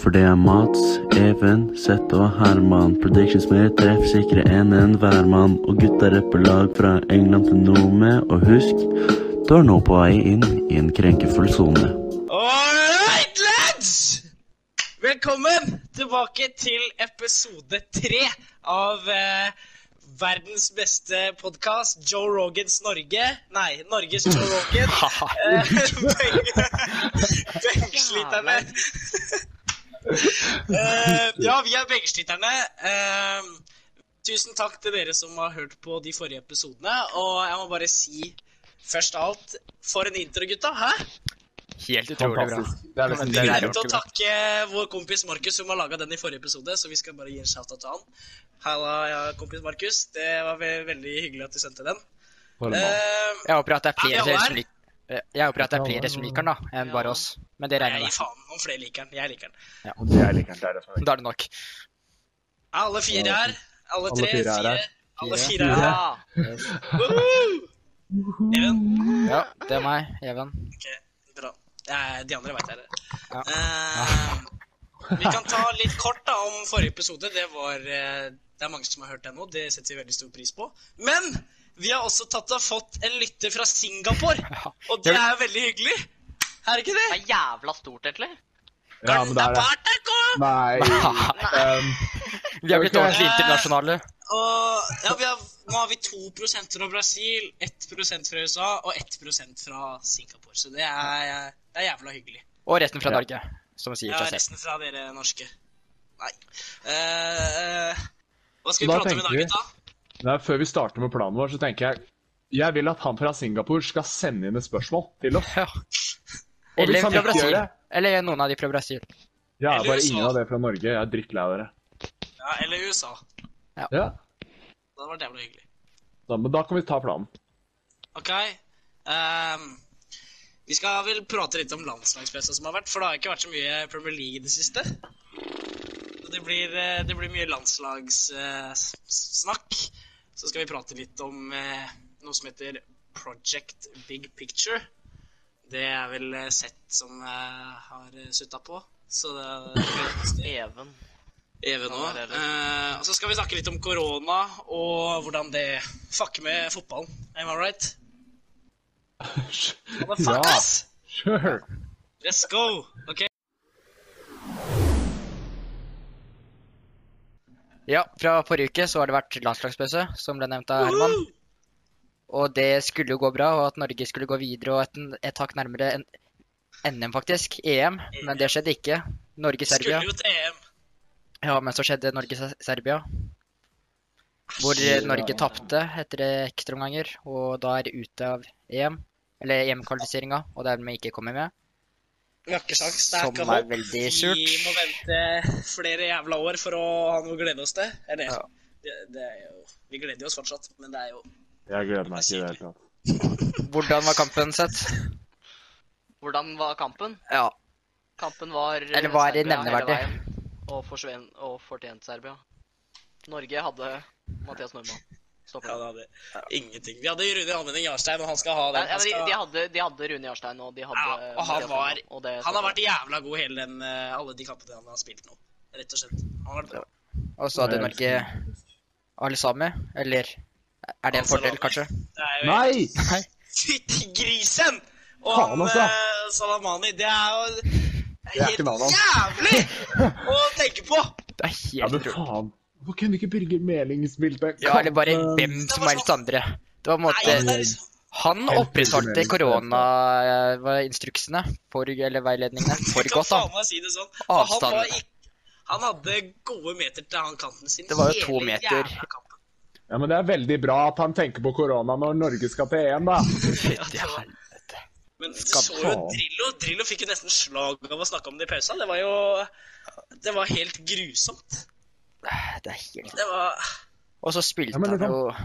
for det er Mats, Even, Seth og Herman. Predictions E mer treffsikre enn enhver mann. Og gutta rapper lag fra England til Nome. Og husk, du er nå på vei inn i en krenkefull sone. Alright, lads! Velkommen tilbake til episode tre av eh, verdens beste podkast, Joe Rogans Norge. Nei, Norges Joe Rogan. Eh, beng- Benksliterne. Eh, ja, vi er Benksliterne. Eh, tusen takk til dere som har hørt på de forrige episodene. Og jeg må bare si først av alt For en intro, gutta. Hæ? Helt utrolig bra. Det er liksom Det er Glemte å rockeband. takke vår kompis Markus, som har laga den i forrige episode. Så vi skal bare gi en shout-out til han. Halla, ja, kompis Markus. Det var ve veldig hyggelig at du sendte den. Mm. Eh, Jeg håper at det er Ja, flere det er. som liker jeg håper at det er flere som liker den, da, enn bare oss. Men det regner jeg jeg gir faen om flere liker den. Jeg liker den. Det er like det er det som er med. Da er det nok. Er Alle fire er her. Alle tre. fire er fire. her. Alle Fire. fire er her. Woohoo! Even, Ja, det er meg, Even. bra. Eh, De andre veit det. Ja. Eh, vi kan ta litt kort da om forrige episode. Det var eh, Det er mange som har hørt den nå. Det setter vi veldig stor pris på. Men vi har også tatt og fått en lytter fra Singapore. Og det er veldig hyggelig. Er det ikke det? Det er jævla stort, egentlig. Ja, men det er det. Gardabartako! Nei. Um, Vi har blitt Ok. ordentlig internasjonale. Og ja, vi har, nå har vi 2 fra Brasil, 1 fra USA og 1 fra Singapore. Så det er, eh, det er jævla hyggelig. Og resten fra Ja. Norge, som sier Ja, seg selv. resten fra dere norske. Nei. Eh, eh, hva skal vi Da prate om i tenker dag, vi- gutta? nei, før vi starter med planen vår, så tenker jeg jeg vil at han fra Singapore skal sende inn et spørsmål til oss. Ja. Og hvis Eller han fra ikke gjør Brasil. det Eller noen av de fra Brasil. Ja, Eller bare USA. ingen av dere fra Norge. Jeg er drittlei av dere. Ja, eller USA. Ja, Det hadde vært jævlig hyggelig. da, Men da kan vi ta planen. Ok. ehm, vi skal vel prate litt om landslagspressa som har vært, for det har ikke vært så mye Premier League i det siste. Så det blir, eh, det blir mye landslagssnakk. Så skal vi prate litt om eh, noe som heter Project Big Picture. Det er vel eh, Sett som eh, har eh, sutta på. Så det er Even. Even Ja, òg. det er det. Eh, og så skal vi snakke litt om korona og hvordan det fucker med fotballen. Am I right? Ja, Fuck ass! sure. Let's go! Ok, Ja, fra forrige uke så har det vært landslagspause, som ble nevnt av Herman. Og det skulle jo gå bra, og at Norge skulle gå videre og et, et hakk nærmere en, NM, faktisk. EM. Men det skjedde ikke. Norge-Serbia. skulle jo til EM. Ja, men så skjedde Norge-Serbia. Hvor eh, Æsj. Norge tapte etter ekstraomganger, og da er det ute av EM. Eller EM-kvalifiseringa, og dermed ikke kommer med. Vi har ikke sjans. Det er ikke Som er håp. veldig Vi må surt. vente flere jævla år for å ha noe å glede oss til. Eller, Ja. det, det er jo Vi gleder jo oss fortsatt, men det er jo Jeg gleder meg ikke i det hele tatt. Hvordan var kampen sett? Hvordan var kampen? Ja. Kampen var eh, Eller var det Serbia hele nevneverdig? veien, Og, forsven, og fortjent Serbia. Norge hadde Mathias Nordmann. Stopper. Ja, det hadde ingenting. Vi hadde Rune Almenning Jarstein, og han skal ha Nei, den. ja, Han, de, de, skal... hadde, de hadde Rune Jarstein, og de hadde Ja, og han var- Mathias Nordmann, og det han har stopper. vært jævla god hele den, eh, alle de kampene han har spilt nå. Rett og slett. Han har vært bra. Og så hadde Norge alle sammen. Eller er det en fordel, kanskje? Det er jo Nei! Fytti grisen! Og Faen, han altså. eh, Salamani, det er jo Det er ikke navnet jævlig å tenke på! Det er Ja, helt men utrolig. faen. Hvorfor kunne ikke Birger Meling spilt med Ja, eller bare kampen? hvem som helst andre. Det var på en Nei, måte men det er liksom, Han opprettholdt koronainstruksene for Eller veiledningene for jeg kan godt, da. faen meg si det sånn. For Han, Avstanden. var ikk- han hadde gode meter til han kanten sin. Det var jo hele to meter. jævla kampen. Ja, men Det er veldig bra at han tenker på korona når Norge skal til EM, da. Fytti hel- Men du Skal så jo faen. Drillo. Drillo fikk jo nesten slag av å snakke om det i pausa. Det var jo Det var helt grusomt. Det er helt Det var Og så spilte Ja, men han liksom- jo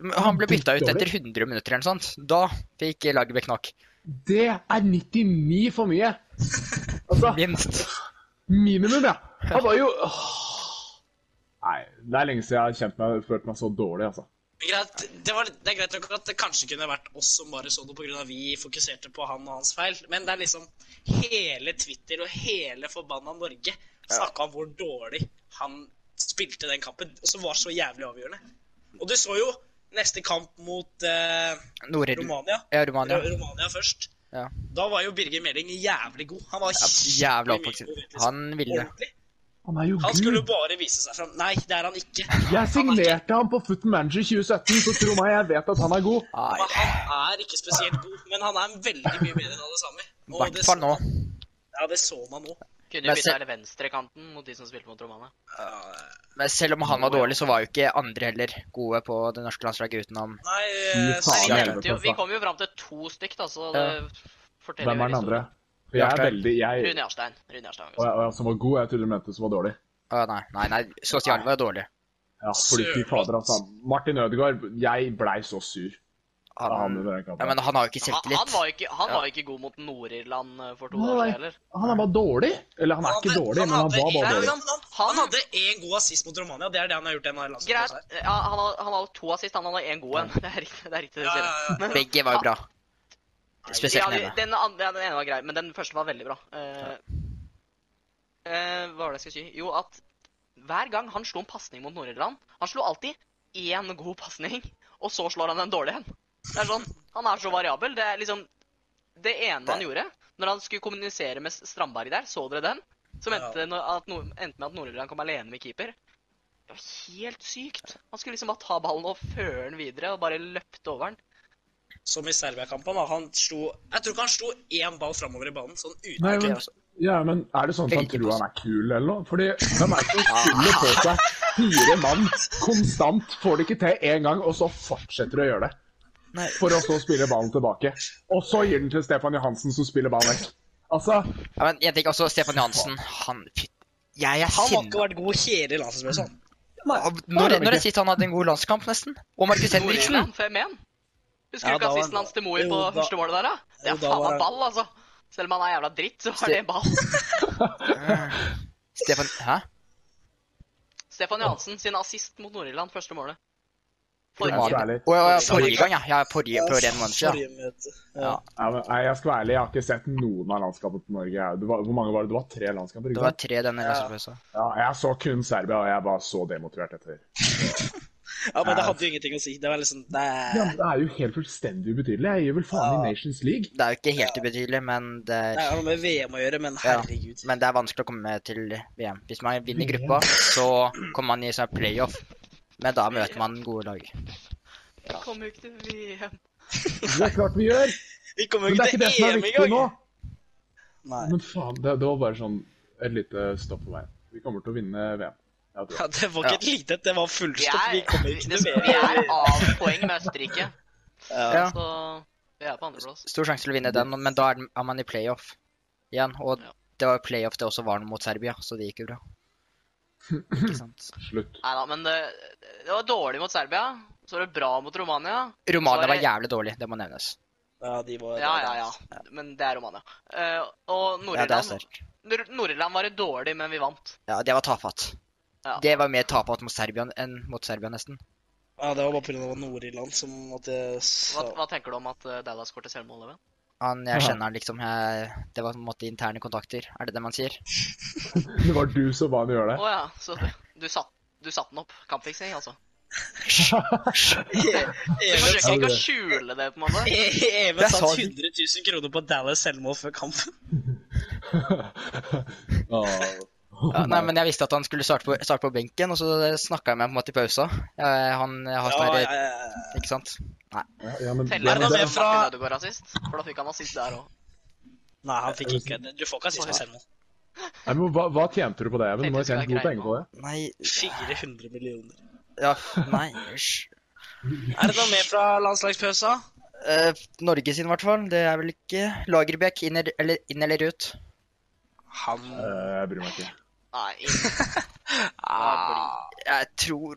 Men Han ble bytta ut dritdårlig. etter 100 minutter eller noe sånt. Da fikk Lagerbäck nok. Det er 99 for mye. Altså, Minst. minimum, ja. Han var jo Åh. Nei, det er lenge siden jeg har kjent meg, følt meg så dårlig, altså. Greit. Det, var, det er greit nok at det kanskje kunne vært oss som bare så det pga. vi fokuserte på han og hans feil, men det er liksom hele Twitter og hele forbanna Norge Snakka om hvor dårlig han spilte den kampen, og som var så jævlig avgjørende. Og du så jo neste kamp mot eh, Nord Romania. ja, Romania. Ro- Romania først. Ja. Da var jo Birger Meling jævlig god. Han var Ja, Jævla oppvoksen. Han ville det. Ordentlig. Han er jo Han skulle jo gud. bare vise seg fram. Nei, det er han ikke. Jeg signerte ham på Foot Manager 2017, så tro meg, jeg vet at han er god. Nei, Men han er ikke spesielt god, men han er veldig mye bedre enn alle sammen. i Og hvert det så- fall nå. Ja, det så man nå. Kunne Men jo bytte se- hele venstrekanten mot de som spilte mot Romania. Ja, Men selv om han var dårlig, så var jo ikke andre heller gode på det norske landslaget utenom Nei, Fy eh, Nei, faen, vi, det Sergej- er nevnte jo, vi helvete. kom jo fram til to stykk, da, så det forteller Hvem jo er den andre? historien. For jeg er Jarstein. veldig jeg, Rune Jarstein. Rune Jarstein. Å, ja, å, ja, Som var god. Jeg trodde du mente som var dårlig. Å nei, nei, nei. Sosial var jo dårlig. Ja, fordi fy fader, altså. Martin Ødegaard, jeg blei så sur av han Han, under den ja, kampen. men han har jo ikke Han, han, selvtillit. var ikke, han Ja. var ikke god mot Nord-Irland eh, for to Nei. år siden heller. Han er bare dårlig. Eller han er ikke hadde- dårlig, men han hadde var bare en- dårlig. Han, han, han hadde én god assist mot Romania. Det er det han har gjort i denne Greit. landslagskampen. Ja, han, har- han hadde to assist, han hadde én god en. Det er riktig. det er riktig det du Ja, sier. ja, ja. Begge var jo bra. Spesielt den ja, ene. den, andre, ja, den ene var grei, men den første var veldig bra. Eh, eh, hva var det jeg skulle si? Jo, at hver gang han slo en pasning mot Nord-Irland Han slo alltid én god pasning, og så slår han en dårlig en. Det er sånn, Han er så variabel. Det er liksom Det ene han gjorde Når han skulle kommunisere med Strandberg der, så dere den? Som endte, no- at, no- endte med at Nord-Irland kom alene med keeper. Det var helt sykt. Han skulle liksom bare ta ballen og føre den videre, og bare løpte over den. Som i Serbia-kampen. da, Han slo Jeg tror ikke han slo én ball framover i banen. sånn uten Nei, å men, kødde. ja, men er det sånn at han Veldig tror han er kul eller noe? Fordi hvem er det som fyller på seg fire mann konstant, får det ikke til én gang, og så fortsetter de å gjøre det? Nei. For å så spille ballen tilbake. Og så gir den til Stefan Johansen, som spiller ballen vekk. Altså, Ja, men jeg tenker også Stefan Johansen. Han fy- Jeg er Han har ikke sinna. vært god hele sånn. landslagsmessa. han. Når, når er sist han hadde en god landskamp, nesten? Og Markus Henriksen. Nord-Irland 5-1. Husker Ja, du ikke da var- assisten hans til Moi Jo, på da- første målet der, da? Det Jo, er da faen var meg han- ball, altså. Selv om han er jævla dritt, så Se- er det ball. Stefan Hæ? Stefan Johansen sin assist mot Nord-Irland, første målet. jeg skal Forrige. være ærlig. Å ja, ja, forrige gang, ja. ja forrige, for en måned siden. Forrige møte. Ja. Ja. Ja, men, nei, jeg skal være ærlig, jeg har ikke sett noen av landskapene til Norge. Det var, hvor mange var det? Det var tre landskamper? Det ikke var sant? tre denne Ja. landslagspausen. Ja, jeg så kun Serbia, og jeg var så demotivert etter. ja, men det hadde jo ingenting å si. Det var liksom Ja, Nei. men Det er jo helt fullstendig ubetydelig. Jeg gir vel faen i Nations League. Det er jo ikke helt ubetydelig, men det Det er, har noe med VM å gjøre, men herregud. men det er vanskelig å komme med til VM. Hvis man vinner gruppa, så kommer man i sånn playoff. Men da møter man gode lag. Kom jo ikke til VM. Det er klart vi gjør! Vi kommer Men jo det er ikke ikke det som til er EM viktig engang! nå. Nei. Men faen, det, det var bare sånn et lite stopp på veien. Vi kommer til å vinne VM. Jeg tror. Ja, det var ikke et lite, det var Vi fullstopp. er, Vi kommer jo ikke det, til vi er VM. av poeng med Østerrike, Ja. så vi er på andreplass. Stor sjanse til å vinne den, men da er den- er man i playoff igjen. Og Ja. det var jo playoff det også var mot Serbia, så det gikk jo bra. Ikke sant. Slutt. Nei da, men det, det var dårlig mot Serbia. Så var det bra mot Romania. Romania var Svaret- jævlig dårlig, det må nevnes. Ja, de var Ja, ja, ja. Men det er Romania. Eh, Ja, og det er Nord-Irland sterkt. Nord- Nord-Irland var dårlig, men vi vant. Ja, det var tafatt. Ja. Det var mer tafatt mot Serbia enn mot Serbia, nesten. Ja, det var bare pga. Nord-Irland som at det Hva, hva tenker du om at eh, Dallas går til selvmål, Even? Han, jeg Ja. kjenner han liksom jeg, Det var på en måte interne kontakter, er det det man sier? Det var du som ba han gjøre Å det. ja, så du satt, du satt den opp. Kampfiksing, altså. Du Even forsøker ikke å skjule det, på en måte. Even Jeg satt sa- 100 000 kroner på Dallas selvmål før kampen. Åh. Ja, nei, men jeg visste at han skulle starte på, starte på benken, og så snakka jeg med ham på en måte i pausa. Jeg, han jeg har sånn Ja, her- ja, ja. Ikke sant? Ja, ja, men, Teller ja, det men som det, med fra- Martin Ødegaard assist? For da fikk han assist der òg. Nei, han fikk ikke det. Du får ikke assist på selvmål. nei, men hva, hva tjente du på det, Even? Du må ha Tenkte tjent jeg skulle gode være penger på det. Nei 400 millioner. Ja, nei æsj. Er det noe mer fra landslagspausa? Eh, Norge sin, i hvert fall. Det er vel ikke Lagerbäck inn, eller- eller- inn eller ut? Han Eh, jeg bryr meg ikke. Nei, inn. Ah, Jeg tror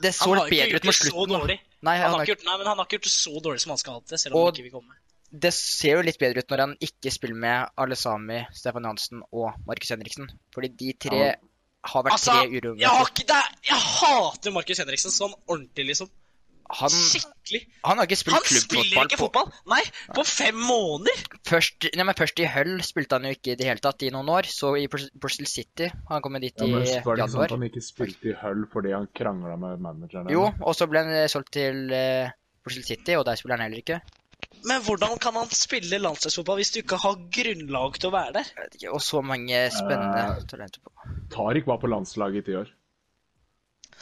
Det så han har litt ikke bedre ut gjort det mot så slutten. dårlig. Nei, Han har han har, ikke gjort, nei, men han har ikke gjort det så dårlig som han skal ha hatt det, selv om han Og- ikke vil komme. det ser jo litt bedre ut når han ikke spiller med Alesami, Stefan Johansen og Markus Henriksen. Fordi de tre Ja. har vært Altså, tre jeg, har uromomentet. ikke, det er, jeg hater Markus Henriksen sånn ordentlig, liksom. Han, Skikkelig. han har ikke Han spilt spiller klubbfotball ikke på fotball! Nei, på fem måneder! først, nei, men først i Hull spilte han jo ikke i det hele tatt i noen år. Så i Brus- Bristol City Han kom jo dit Ja, i men var det ikke sånn at januar. han ikke spilte i hull fordi han krangla med manageren? Jo, og så ble han eh, solgt til eh, Bristol City, og der spiller han heller ikke. Men hvordan kan han spille landslagsfotball hvis du ikke har grunnlag til å være der? Jeg vet ikke, Og så mange spennende Eh. talenter på. Tariq var på landslaget i ti år.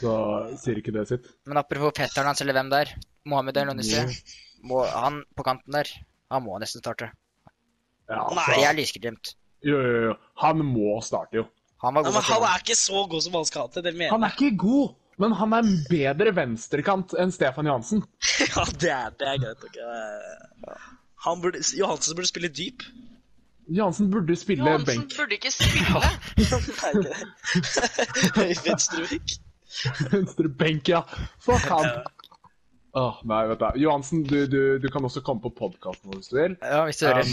Så sier ikke det sitt. Men apropos fetteren hans, eller hvem det er. Mohammed El Onisi. Må, han på kanten der, han må nesten starte. Ja, Nei. Det altså, er lysglimt. jo, jo, jo. Han må starte, jo. Han var Ja, god men nok. han er ikke så god som han skal ha til, det mener Han er ikke god, men han er en bedre venstrekant enn Stefan Johansen. jeg. Ja, det er, det er greit. ok. Han burde, Johansen burde spille dyp. Johansen burde spille Johansen benk. burde ikke spille. Nei, ikke det. Venstrevik. Venstre benk, ja. Fuck han. Åh, nei, vet du. Johansen, du, du, du kan også komme på podkasten vår hvis du vil. Ja, hvis du hører.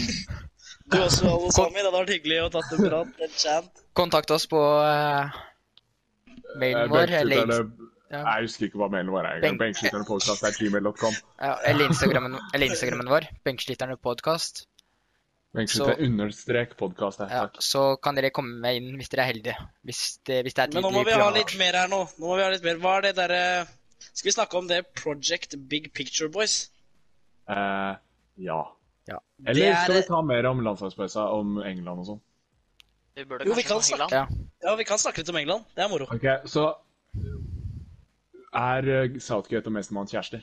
Du også, alle sammen. Det hadde vært hyggelig å tatt en prat. En chant. Kontakt oss på eh, mailen vår, eller, Um, eh, Benkskytterne Ja. Nei, Jeg husker ikke hva mailen vår er engang. Benk- Benkskytternepodkast.gmail.com. ja, eller, Instagrammen, eller Instagrammen vår, Benkesliterne podcast. Benkskytter understrek podkast. Ja, Takk. så kan dere komme med inn hvis dere er heldige. Hvis det, hvis det er Men nå tidlig må vi ha program. litt mer her nå. Nå må vi ha litt mer. Hva er det derre Skal vi snakke om det Project Big Picture Boys? Eh, ja. Ja. Det Eller er- skal vi ta mer om landslagspausa, om England og sånn? Vi burde Jo, vi kanskje kan ha Haaland. Ja. Ja, vi kan snakke litt om England. Det er moro. Ok, så er eh, Southgate og Mestermann kjærester?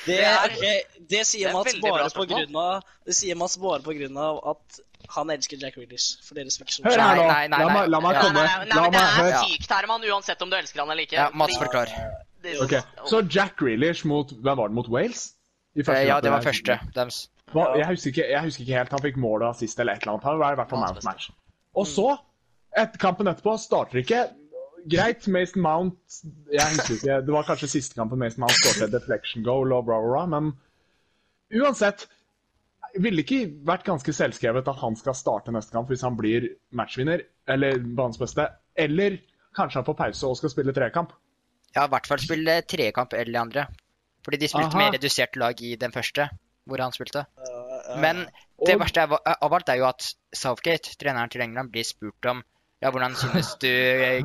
Det, er, det, det sier Det er Mats veldig bare bra på spørsmål. grunn av Det sier Mats bare på grunn av at han elsker Jack Reelish. For deres veksjon. Hør her nå! Nei, nei, nei, La nei. meg, la meg Ja. Nei, komme. nei, nei, La men meg det er høre. sykt, Herman, uansett om du elsker han eller ikke. ja, Mats Fordi- forklar. det- Ok, Så Jack Grealish mot Hvem var det? Mot Wales? I første Eh, Ja, kampen det var her. første deres. Hva- Jeg, husker ikke, jeg husker ikke helt. Han fikk mål av sist eller et eller annet. Han var i hvert fall man of the match. Og så, et, kampen etterpå, starter ikke. Greit, Mason Mount Jeg husker ikke, Det var kanskje siste kampen Mason Mount skåret et deflection goal og bra, bra, bra, men uansett Ville ikke vært ganske selvskrevet at han skal starte neste kamp hvis han blir matchvinner eller banens beste, eller kanskje han får pause og skal spille trekamp. Ja, i hvert fall spille trekamp eller de andre. Fordi de spilte Aha. med redusert lag i den første, hvor han spilte. Men det Og- verste av av alt er jo at Southgate, treneren til England, blir spurt om ja, hvordan synes du eh,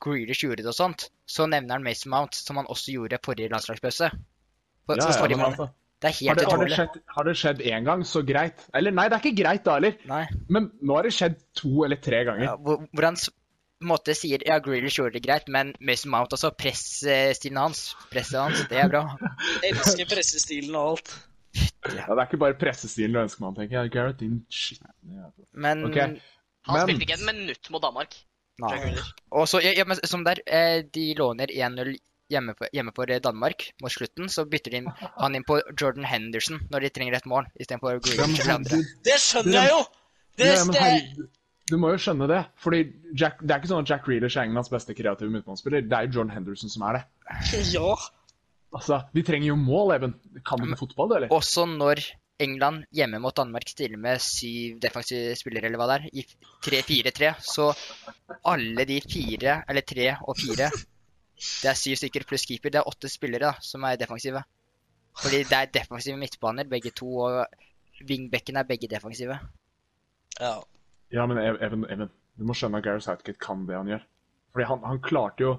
Grealish gjorde det og sånt. Så nevner han Mason Mount, som han også gjorde forrige landslagspause. For, Ja, for ja, forrige men måned. altså, Det er har, helt det, har, det utrolig. skjedd, har det skjedd én gang, så greit. Eller nei, det er ikke greit da heller. Nei. Men nå har det skjedd to eller tre ganger. Ja, hvor, hvor han s- på en måte sier ja, Grealish gjorde det greit, men Mason Mount også. Pressstilen hans. Presset hans, det er bra. Elsker pressestilen og alt. Ja, det er ikke bare pressestilen du ønsker man, tenker jeg. Gareth, din skitne jævel. Men Ok, Han Men- spilte ikke et minutt mot Danmark. nei. Jack Grealish. Og så, ja, ja, men som der, eh, de låner 1-0 hjemme, for- hjemme for Danmark mot slutten, så bytter de inn, han inn på Jordan Henderson når de trenger et mål, istedenfor Ja, men Grealish eller andre. herregud. Det skjønner jeg jo! Det, Ja, men det, herregud. Du må jo skjønne det. Fordi Jack, Det er ikke sånn at Jack Reelers er Englands beste kreative midtbanespiller. Det er jo John Henderson som er det. ja. Altså, Vi trenger jo mål, Even. Kan du fotball, du, eller? Også når England hjemme mot Danmark stiller med syv defensive spillere, eller hva det er, i 3-4-3, så alle de fire, eller tre og fire Det er syv stykker pluss keeper. Det er åtte spillere da, som er defensive. Fordi det er defensive midtbaner, begge to, og wingbacken er begge defensive. ja. Ja, men Ev- Even, Even du må skjønne at Gareth Southgate kan det han gjør. Fordi han, han klarte jo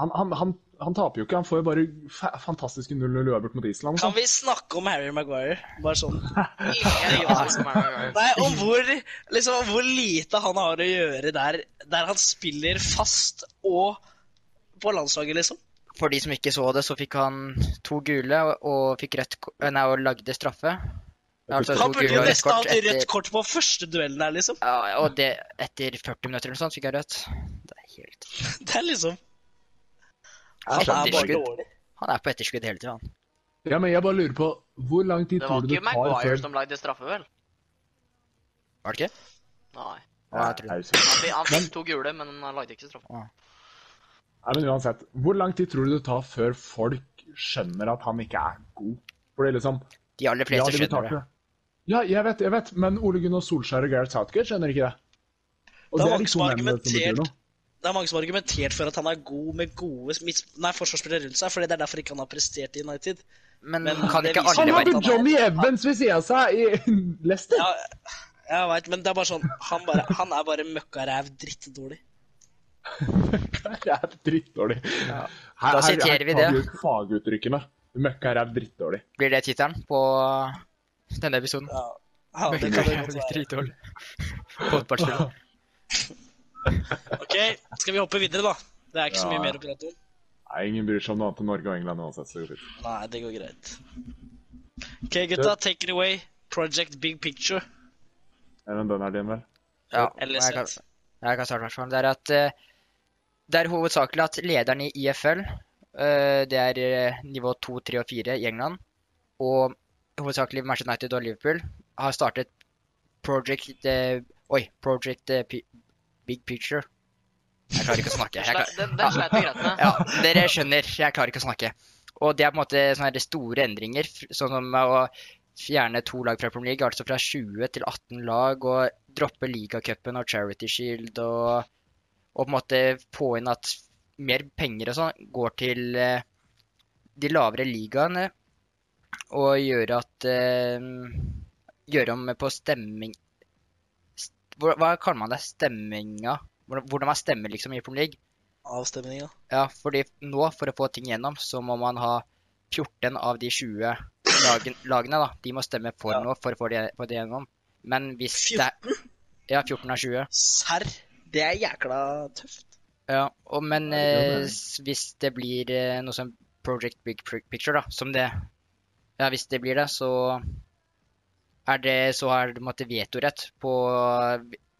han, han, han, han taper jo ikke. Han får jo bare fa fantastiske 0-0-uavgjort mot Island. og Kan sånn. vi snakke om Harry Maguire? Bare sånn. Ingen av oss som er- Nei, om hvor, liksom, om hvor lite han har å gjøre der, der han spiller fast og på landslaget, liksom. For de som ikke så det, så fikk han to gule og, og fikk rødt ko- eh, Nei, og lagde straffe. Altså, Han to burde gule jo og rødt nesten kort hatt rødt etter, kort på første duellen der, liksom. ja, og det, etter 40 minutter eller noe sånt fikk han rødt. Det er helt Det er liksom Det Han er, er på bare etterskudd. dårlig. han er på etterskudd hele tida, han. Ja, men jeg bare lurer på Hvor lang tid Det var tror du det ikke tar før Maguire som lagde straffe, vel? Var det ikke? Nei. Ja, jeg tror det. Nei, jeg er usikker. Han fikk- Han fikk to gule, men han lagde ikke straffe. Nei, men uansett, Hvor lang tid tror du det tar før folk skjønner at han ikke er god? Fordi liksom, De aller ja, fleste de skjønner betalte det. det. Ja, jeg vet, jeg vet, men Ole Gunnar Solskjær og Gareth Southgate skjønner ikke det. Og Da det var er de ikke to mennene som betyr argumentert. noe. det er mange som har argumentert for at han er god med gode midt, nei, forsvarsspillere rundt seg, fordi det er derfor ikke han har prestert i United. Men, Men kan det ikke viser- Han alle hadde være vet han er- Johnny Evans ved siden av seg i Leicester. Ja, jeg vet, men det er bare sånn Han, bare, han er bare møkkaræv drittdårlig. Det er drittdårlig. Ja. Her, Da siterer vi tar det. ut faguttrykkene. Møkkaræv drittdårlig. Blir det tittelen på denne episoden? Ja, ja, det kan det godt være. Dritdårlig. Fotballspiller. Ok, skal vi hoppe videre, da? Det er ikke så Ja. mye mer å prate om. Nei, ingen bryr seg om noe annet enn Norge og England uansett. så det går fint. Nei, det går greit. Ok, gutta, take it away. Project Big Picture. Eller den er din, vel? Ja, Eller jeg kan, sett. jeg kan starte hvertfall. Det er at eh, det er hovedsakelig at lederen i IFL, eh, det er eh, nivå 2, 3 og 4 i England, og hovedsakelig Manchester United og Liverpool, har startet Project eh, Oi, Project eh, Pi- Big Picture. Jeg klarer ikke å snakke. Den Jeg klarer, sle- Den, den sleit vi greit med. ja, dere skjønner. Jeg klarer ikke å snakke. Og det er på en måte sånne her store endringer, f- sånn som å fjerne to lag fra Premier League, altså fra 20 til 18 lag, og droppe ligacupen og Charity Shield, og, og på en måte få inn at mer penger og sånn går til eh, de lavere ligaene, og gjøre at eh, Gjøre om på stemming st- Hva hva kaller man det? Stemminga? Hvordan hvordan man stemmer liksom i Premier League? Avstemninga. Ja, fordi nå, for å få ting gjennom, så må man ha 14 av de 20 lagen, lagene, da. De må stemme for Ja. noe for å få det, få det gjennom. Men hvis det er Ja, 14 av 20. Serr? Det er jækla tøft. Ja, og, men Ja, det gjør eh, det. s- hvis det blir eh, noe som Project Big Pri- Picture, da, som det Ja, hvis det blir det, så er det Så har du på en måte vetorett på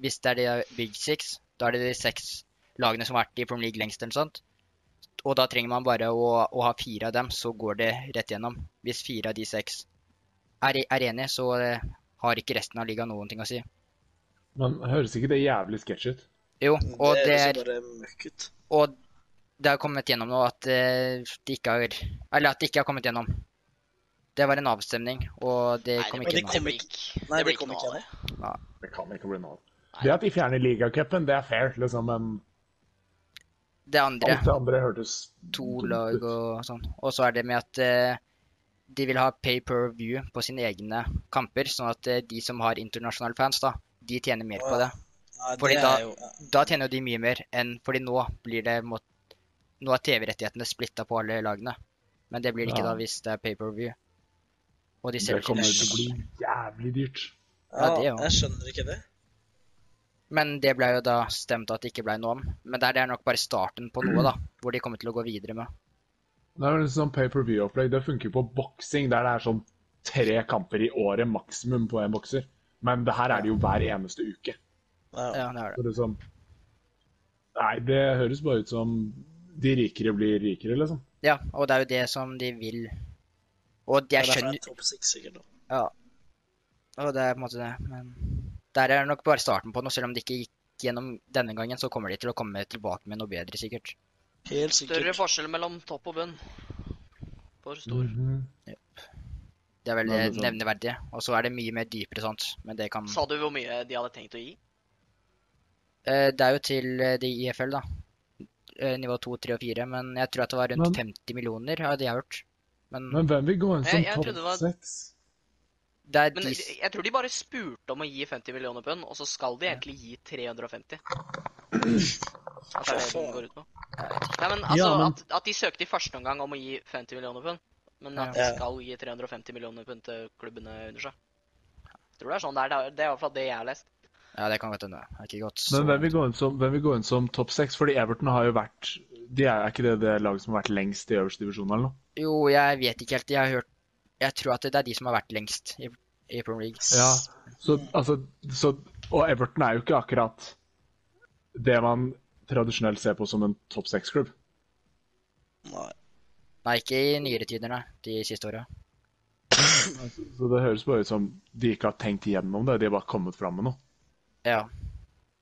Hvis det er de Big Six, da er det de seks lagene som har vært i Premier League lengst, eller sånt. Og da trenger man bare å, å ha fire av dem, så går det rett gjennom. Hvis fire av de seks er, er enige, så eh, har ikke resten av ligaen noen ting å si. Men høres ikke det jævlig sketsj ut? Jo, og det er liksom bare møkk ut. Og det har kommet gjennom nå at eh, de ikke har Eller at det ikke har kommet gjennom. Det var en avstemning, og det Nei, kom det ikke blir- gjennom. det blir ikke- Nei, det blir det kommer noe ikke av jeg det. Det kan ikke bli noe av. Det at de fjerner ligacupen, det er fair, liksom, men Det andre, alt det andre hørtes to lag og sånn. Og så er det med at eh, de vil ha pay per view på sine egne kamper, sånn at eh, de som har internasjonale fans, da, de tjener mer på det. Nei, Fordi det da- er jo ja. Da tjener jo de mye mer enn Fordi nå blir det må- Nå er TV-rettighetene splitta på alle lagene. Men det blir det ikke Ja. da hvis det er pay per view. Og de Det selger kommer ikke til å bli jævlig dyrt. ja, det er jo- Jeg skjønner ikke det. Men det ble jo da stemt at det ikke ble noe om. Men det er- det er nok bare starten på noe, da. Hvor de kommer til å gå videre med. Det er vel en sånn pay-per-view-opplegg. Det funker jo på boksing, der det er sånn tre kamper i året maksimum på en bokser. Men det her er det jo hver eneste uke. Ja. Ja, det er det. Så det er sånn Nei, det høres bare ut som de rikere blir rikere, liksom. Ja, og det er jo det som de vil. Og Det jeg er derfor det skjønner er topp seks, sikkert. da. Ja. Og det er på en måte det, men Der er det nok bare starten på noe. Selv om det ikke gikk gjennom denne gangen, så kommer de til å komme tilbake med noe bedre, sikkert. Helt Større sikkert. forskjell mellom topp og bunn. For stor. Mm. Mhm. Det er vel Ja, det det er sant. nevneverdige. Og så er det mye mer dypere sånt. Men det kan Sa du hvor mye de hadde tenkt å gi? Eh, Det er jo til eh, de i IFL, da. Eh, Nivå 2, 3 og 4. Men jeg tror at det var rundt Men- 50 millioner, har det jeg har hørt. Men Men hvem vil gå inn som Jeg- jeg trodde det var- topp seks? det er Men de jeg jeg tror de bare spurte om å gi 50 millioner pund, og så skal de egentlig gi 350. At det er det den går ut på. Nei, men altså, Ja, men- At, at de søkte i første omgang om å gi 50 millioner pund, men at de Ja. skal gi 350 millioner pund til klubbene under seg. Jeg tror det er sånn det er. Det er- Det er i hvert fall det jeg har lest. Ja, det kan godt hende. Jeg har ikke gått så Men hvem vil gå inn som, hvem vil gå inn som topp seks? Fordi Everton har jo vært de er, er ikke det det laget som har vært lengst i øverste divisjon, eller noe? Jo, jeg vet ikke helt. Jeg har hørt Jeg tror at det er de som har vært lengst i, i Premier League. Ja, så, altså, så, og Everton er jo ikke akkurat det man tradisjonelt ser på som en topp seks-klubb. Nei. Nei, ikke i nyere tider, nei. De siste åra. Så det høres bare ut som de ikke har tenkt igjennom det, de har bare kommet fram med noe. Ja.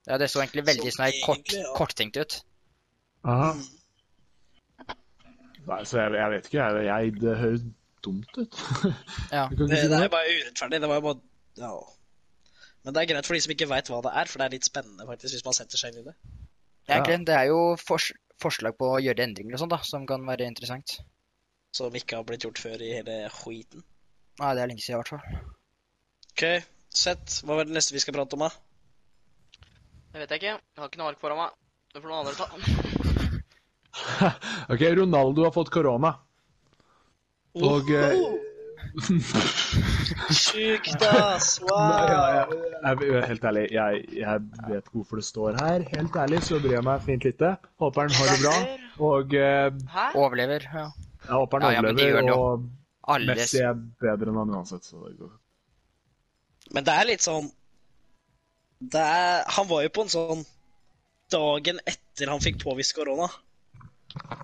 ja. Det så egentlig veldig Så sånn her kort, egentlig, ja. korttenkt ut. Nei, så jeg, jeg vet ikke, jeg, jeg, det høres dumt ut. Ja. Du Det, kan ikke si det noe. er bare urettferdig. Det var jo bare Ja. Men det er greit for de som ikke veit hva det er, for det er litt spennende faktisk hvis man setter seg inn i det. Egentlig, Det er jo fors forslag på å gjøre endringer og sånn, da, som kan være interessant. Som ikke har blitt gjort før i hele skiten. Nei, det er lenge siden, i hvert fall. OK, sett. Hva var det neste vi skal prate om, da? Det vet jeg ikke. Jeg har ikke noe ark foran meg. Det får noen andre ta. OK, Ronaldo har fått korona. Og eh, Sjukt, ass! nei, Wow! ja, jeg, jeg, Helt ærlig, jeg, jeg vet ikke hvorfor det står her. Helt ærlig så bryr jeg meg fint lite. Håper han har det bra. Og eh, Hæ? Overlever. ja. jeg håper Ja, ja, han men det gjør det overlever. jo. Og Alle Messi er bedre enn han uansett, så det går. Men det er litt sånn det er, Han var jo på en sånn Dagen etter han fikk påvist korona,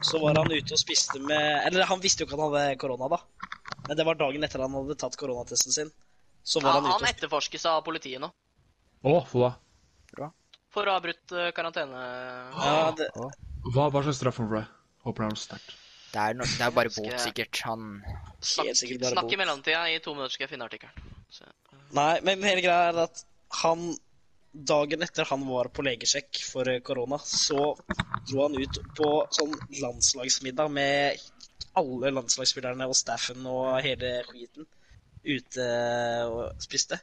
så var han ute og spiste med Eller han visste jo ikke han hadde korona, da. Men det var dagen etter han hadde tatt koronatesten sin. Så Ja, var han han ute og etterforskes av politiet nå. Å, for hva? For å ha brutt eh, karantene... ja, det, Hva, hva slags straff får han for det? Håper han har noe sterkt. Det er, no det er bare Skal bot, jeg- sikkert. Han Snakk, Helt sikkert bare snakk bot. i mellomtida. I to minutter skal jeg finne artikkelen. Så- Nei, men hele greia er at han Dagen etter han var på legesjekk for eh, korona, så dro han ut på sånn landslagsmiddag med alle landslagsspillerne og staffen og hele skiten ute og spiste.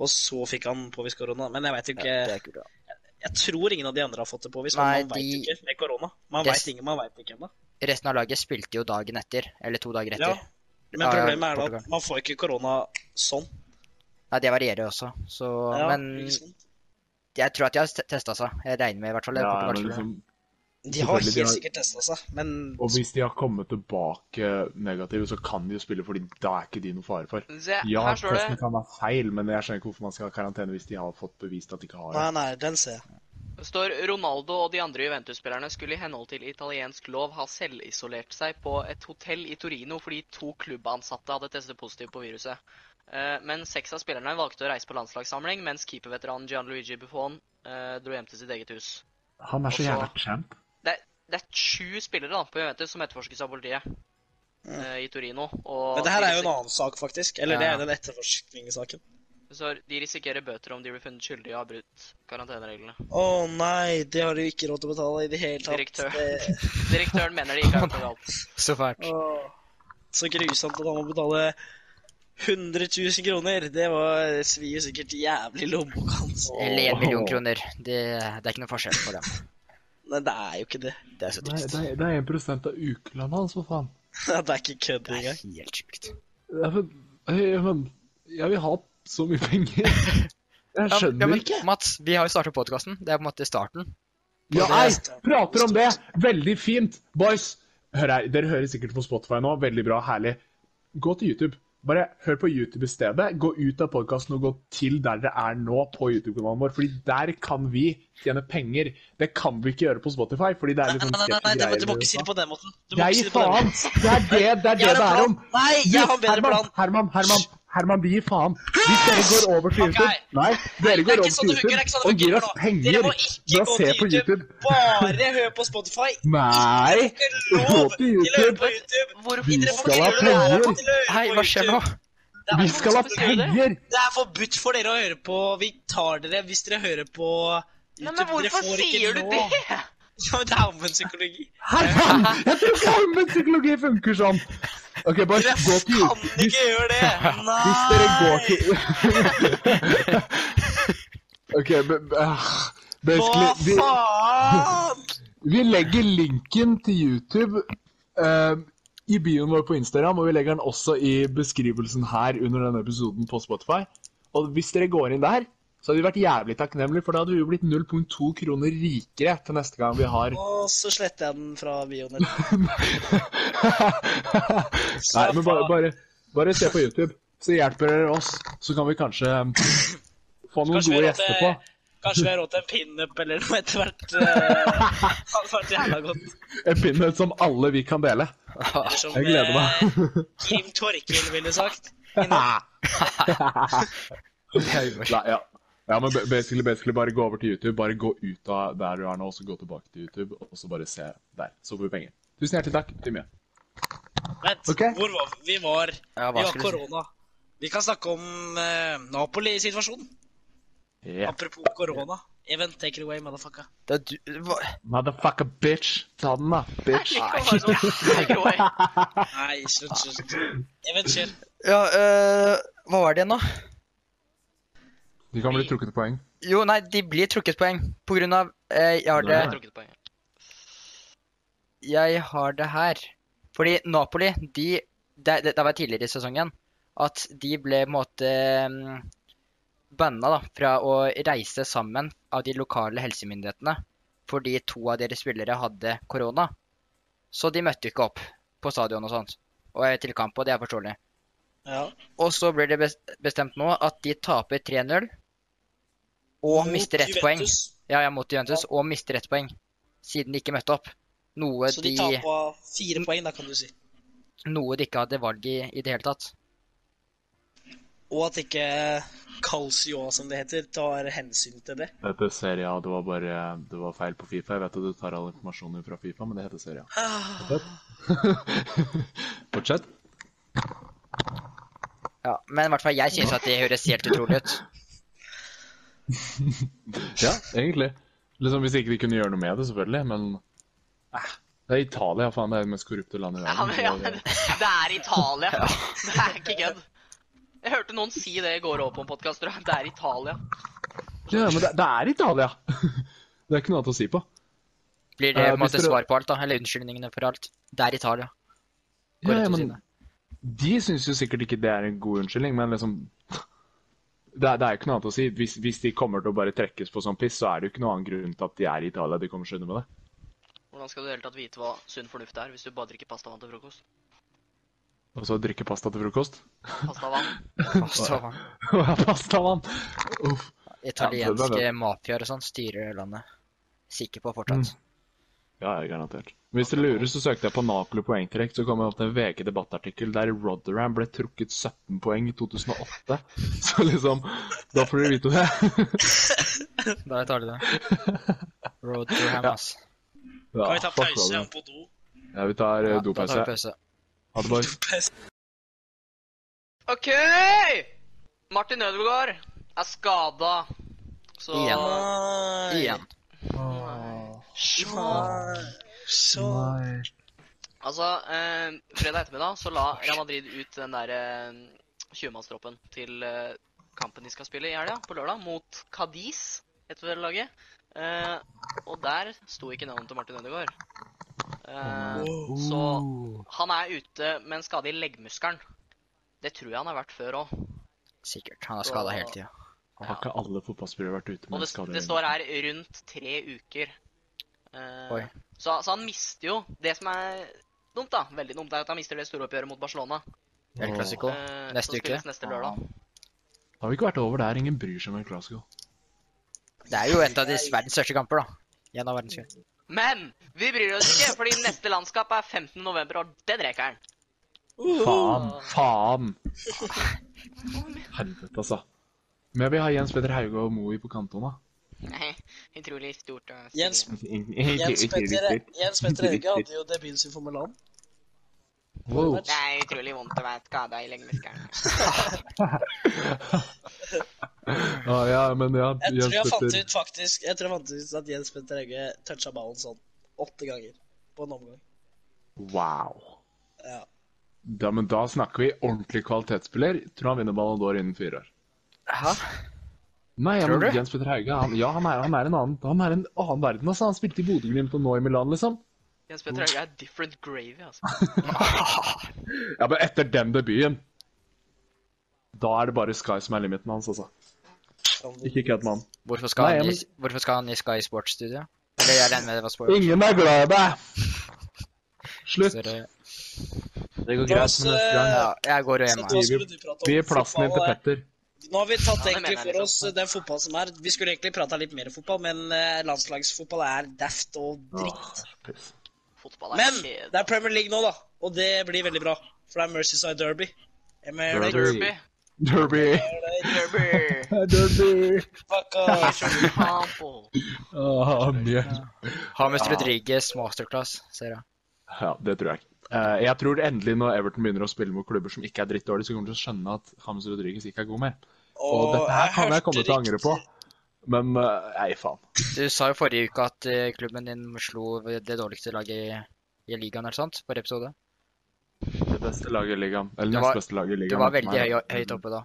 Og så fikk han påvist korona. Men jeg veit jo ja, det ikke er kult, da. Jeg tror ingen av de andre har fått det påvist. Men Nei, man veit de- jo ikke med korona. Man Det- vet ingen, man vet ikke ennå. Resten av laget spilte jo dagen etter. Eller to dager Ja. etter. Men Ja, ja, problemet er da Portugal. at man får ikke korona sånn. Nei, det varierer jo også. Så, Ja, men ikke sånn. sant? jeg tror at de har testa seg. Jeg regner med i hvert fall det. Ja, Portugal men skulle- liksom, De har selvfølgelig, de helt har- sikkert testa seg, men og hvis de har kommet tilbake negative, så kan de jo spille, fordi da er ikke de noe fare for. Se, Ja, her står testen det, kan være feil, men jeg skjønner ikke hvorfor man skal ha karantene hvis de har fått bevist at de ikke har det. Nei, nei, den ser jeg. står Ronaldo og de andre Juventus-spillerne skulle i henhold til italiensk lov ha selvisolert seg på et hotell i Torino fordi to klubbansatte hadde testet positivt på viruset. Eh, Men seks av spillerne valgte å reise på landslagssamling, mens keeperveteranen Gianluigi Buffon eh, dro hjem til sitt eget hus. Han er så Også- jævla champ. Det er, det er sju spillere da, på Juventus som etterforskes av politiet eh, i Torino. Og Mm. Men det her de er jo en risik- annen sak, faktisk. Eller det Ja. er den etterforskningssaken. Så de risikerer bøter om de blir funnet skyldige og har brutt karantenereglene. Å nei, det har de jo ikke råd til å betale i det hele tatt. Direktør. Det, Direktøren mener de ikke har gjort noe galt. liksom- Så fælt. Åh, så grusomt at han må betale 100 000 kroner. Det var svir jo sikkert jævlig i lommeboka hans. Eller én million kroner. Det, det er ikke noe forskjell for dem. Nei, det er jo ikke det. Det er så Nei, trist. det er- det er 1 av ukelønna hans, for faen. Det er ikke kødd Det er engang. helt sjukt. Det er for- Hei, men jeg vil ha så mye penger. Jeg skjønner men, ikke. Mats, vi har jo startet podkasten. Det er på en måte starten. Ja, det er- nei, prater om det! Veldig fint! Boys, hør her, dere hører sikkert på Spotify nå. Veldig bra, herlig. Gå til YouTube. Bare hør på YouTube i stedet. Gå ut av podkasten og gå til der dere er nå, på YouTube-kanalen vår. fordi der kan vi tjene penger. Det kan vi ikke gjøre på Spotify, fordi det er Nei, litt nei, sånn nei, nei, nei, du må ikke si det sketchy-greier. på den måten. Du må Jeg ikke si gir det på den faen! måten. Det er det det, er Jeg det, har en det er plan. om! Nei, jeg har en bedre Herman, plan. Herman, Herman, Herman, vi gir faen. Hvis dere går over til Ok. YouTube Nei, dere Det går er over ikke sånn til det funker. det er ikke sånn det YouTube og gir funker oss nå. penger Dere må ved ikke å gå se til på YouTube. Bare hør på Spotify. Nei! Det er Gå ikke lov til til å høre YouTube. på YouTube. Hvorfor Vi Dere får skal ikke ha lov penger! til å høre Hei, på hva skjer YouTube. nå? Det er Vi skal ha Hvorfor skal vi gjøre det? penger! Det er forbudt for dere å høre på Vi tar dere hvis dere hører på YouTube. Nei, men hvorfor dere får ikke sier du lov. det? Ja, men det er omvendt psykologi. Herman! Jeg tror ikke allmenn psykologi funker sånn. OK, bare Dere gå til kan YouTube. Hvis, ikke gjøre det! Nei! hvis dere går til OK, men ah, Hva basically vi- faen? Vi legger linken til YouTube eh, i bioen vår på Instagram, og vi legger den også i beskrivelsen her under denne episoden på Spotify. Og hvis dere går inn der, så hadde vi vært jævlig takknemlige, for da hadde vi jo blitt 0,2 kroner rikere til neste gang vi har Og så sletter jeg den fra bioen. Nei, men bare, bare, bare se på YouTube, så hjelper dere oss. Så kan vi kanskje få noen Kanskje vi gode har råd gjester på. til- Kanskje vi har råd til en pinup eller noe etter hvert. eh, Hadde vært jævla godt. En pinnhet som alle vi kan dele. Eller som, Ah, Jeg gleder meg. eh, Kim Torkil ville sagt. Nei, ja. ja, men ba- basically, basically bare gå over til YouTube. Bare gå ut av der du er nå, og så gå tilbake til YouTube, og så bare se der. Så får vi penger. Tusen hjertelig takk. Til mye. Vent, Ok. hvor var vi? Vi var Ja, Vi hva har skulle du si? korona. Vi kan snakke om eh, Napoli-situasjonen. Ja. Apropos korona. Even, take it away, motherfucker. Det er du hva? Motherfucker bitch. Ta den, da, bitch. Nei, Nei, slutt, slutt. Even, kjør. Ja, øh, hva var det igjen, da? Du kan bli trukket poeng. Jo, nei, de blir trukket poeng på grunn av eh, Jeg har det Nei. Jeg har det her. Fordi Napoli, de Det, det, det var tidligere i sesongen at de ble på en måte mm, banna da, fra å reise sammen av de lokale helsemyndighetene fordi to av deres spillere hadde korona. Så de møtte ikke opp på stadion og sånt, og eh, til kamp, og det er forståelig. Ja. Og så blir det bes- bestemt nå at de taper 3-0 og mister ett poeng. Juventus. Ja, ja, mot Juventus, og mister ett poeng. Siden de ikke møtte opp. Noe Så de, de tar på fire poeng, da, kan du si. noe de ikke hadde valg i i det hele tatt. Og at ikke eh, Calcio, som det heter, tar hensyn til det. Det heter Serie A. Det var bare det var feil på Fifa. Jeg vet at du tar all informasjonen fra Fifa, men det heter Serie A. Ah, Fortsett. Ja, Men i hvert fall jeg synes at det høres helt utrolig ut. Ja, egentlig. Liksom Hvis ikke de kunne gjøre noe med det, selvfølgelig, men eh, Det er Italia, faen. Det er det mest korrupte landet i verden. men, ja, men, det er Italia. Det er ikke kødd. Jeg hørte noen si det i går òg på en podkast. Det er Italia. Ja, men det, det er Italia! Det er ikke noe annet å si på. Blir Eh, det på en hvis måte dere- svar på alt, da? Eller unnskyldningene for alt? Det er Italia. Går Ja, rett ja, til men siden. De syns jo sikkert ikke det er en god unnskyldning, men liksom Det er, det er jo ikke noe annet å si. Hvis, hvis de kommer til å bare trekkes på sånn piss, så er det jo ikke noen annen grunn til at de er i Italia. De kommer seg unna med det. Hvordan skal du i det hele tatt vite hva sunn fornuft er, hvis du bare drikker pastavann til frokost? Og så drikke pasta til frokost. Pastavann. Altså, Pastavann! Uff. Ja, det er italienske det. mafiaer og sånn styrer landet. Sikker på fortsatt. Ja, ja, garantert. Men Hvis du lurer, så søkte jeg på Napoli poengtrekk, så kom jeg opp til en VG-debattartikkel der Rotherham ble trukket 17 poeng i 2008. Så liksom Da får dere vite det. Da er Italia det. Road to Ham, Mm. Ja, ass. Ja, Kan vi ta fuck pause? Jeg Rotherham. må på do. Ja, vi tar Ja, da eh, tar vi dopause. pause. Ha det, boys. OK! Martin Ødegaard er skada. Så Igjen. Igjen. Så Altså, eh, fredag ettermiddag så la Real Madrid ut den der eh, 20-mannstroppen til eh, kampen de skal spille i helga, på lørdag, mot Cadiz, heter vel laget. Eh, og der sto ikke navnet til Martin Ødegaard. Eh, så han er ute med en skade i leggmuskelen. Det tror jeg han har vært før òg. Sikkert. Han er skada hele tida. Har ikke alle fotballspillere vært ute Og med det, det står her rundt tre uker. Eh, Oi. så, så han mister jo Det som er dumt, da, veldig dumt, er at han mister det store oppgjøret mot Barcelona. El Clasico. eh, Neste som uke. spilles Neste lørdag. Har vi ikke vært over der? Ingen bryr seg om en Glasgow. Det er jo et av de verdens største kamper, da. En av verdens største. Men vi bryr oss ikke, fordi neste landskap er 15. november, og den rekker han. Faen! Faen! Helvete, altså. Men vi har Jens Petter Hauge og Moe på kantona. Nei, Utrolig stort. å si. Jens, Jens Petter Wow. Jens Petter Hauge hadde jo debuten sin for Milan. eh, Det er utrolig vondt å være skada i leggmuskelen. Ja, ja, men ja, Jeg tror Jens jeg fant Petter ut faktisk Jeg tror jeg fant ut at Jens Petter Hauge toucha ballen sånn åtte ganger på en omgang. Wow. Ja. Ja, men da snakker vi ordentlig kvalitetsspiller. Tror han vinner Ballon d'Or innen fire år. Hæ? Nei, ja, Tror men du? Jens Petter Hauge han, ja, han, er, han, er en annen, han er en annen verden. altså. Han spilte i Bodø-Glimt og nå i Milan, liksom. Jens Petter Hauge er different gravy, altså. Ja, men etter den debuten Da er det bare Sky som er limiten hans, altså. Ikke Catman. Hvorfor skal, Nei, han men- i, hvorfor skal han i Sky Sports-studio? Eller jeg regner med det var sport. Ingen er glad i deg! Slutt. Så det- Det går greit, men neste gang- Ja, jeg går og Så hjem. hva jeg. skulle du prate om? Vi gir plassen din til Fotball, eh? Petter. Nå har vi tatt Ja, det egentlig mener jeg for oss liksom. den fotball som er. Vi skulle egentlig prata litt mer fotball, men eh, landslagsfotball er daft og dritt. piss. Fotball er Men kjedelig. det er Premier League nå, da. Og det blir veldig bra. For det er Mercyside Derby. Emil Derby. Derby. Derby. Derby. Derby. Bakka. Faen. Ah, mye. James Rodriguez masterclass, ser jeg. Ja, det tror jeg ikke. Eh, jeg tror endelig når Everton begynner å spille mot klubber som ikke er drittdårlige, så kommer de til å skjønne at James Rodriguez ikke er god mer. Og dette her kan jeg komme til å angre på. Men eh, nei, faen. Du sa jo forrige uke at eh, klubben din slo det dårligste laget i, i ligaen, eller sant? Forrige episode. Det beste laget i ligaen. Eller Du nest var- beste laget i Du ligaen. var veldig høy, Nei. høyt oppe da.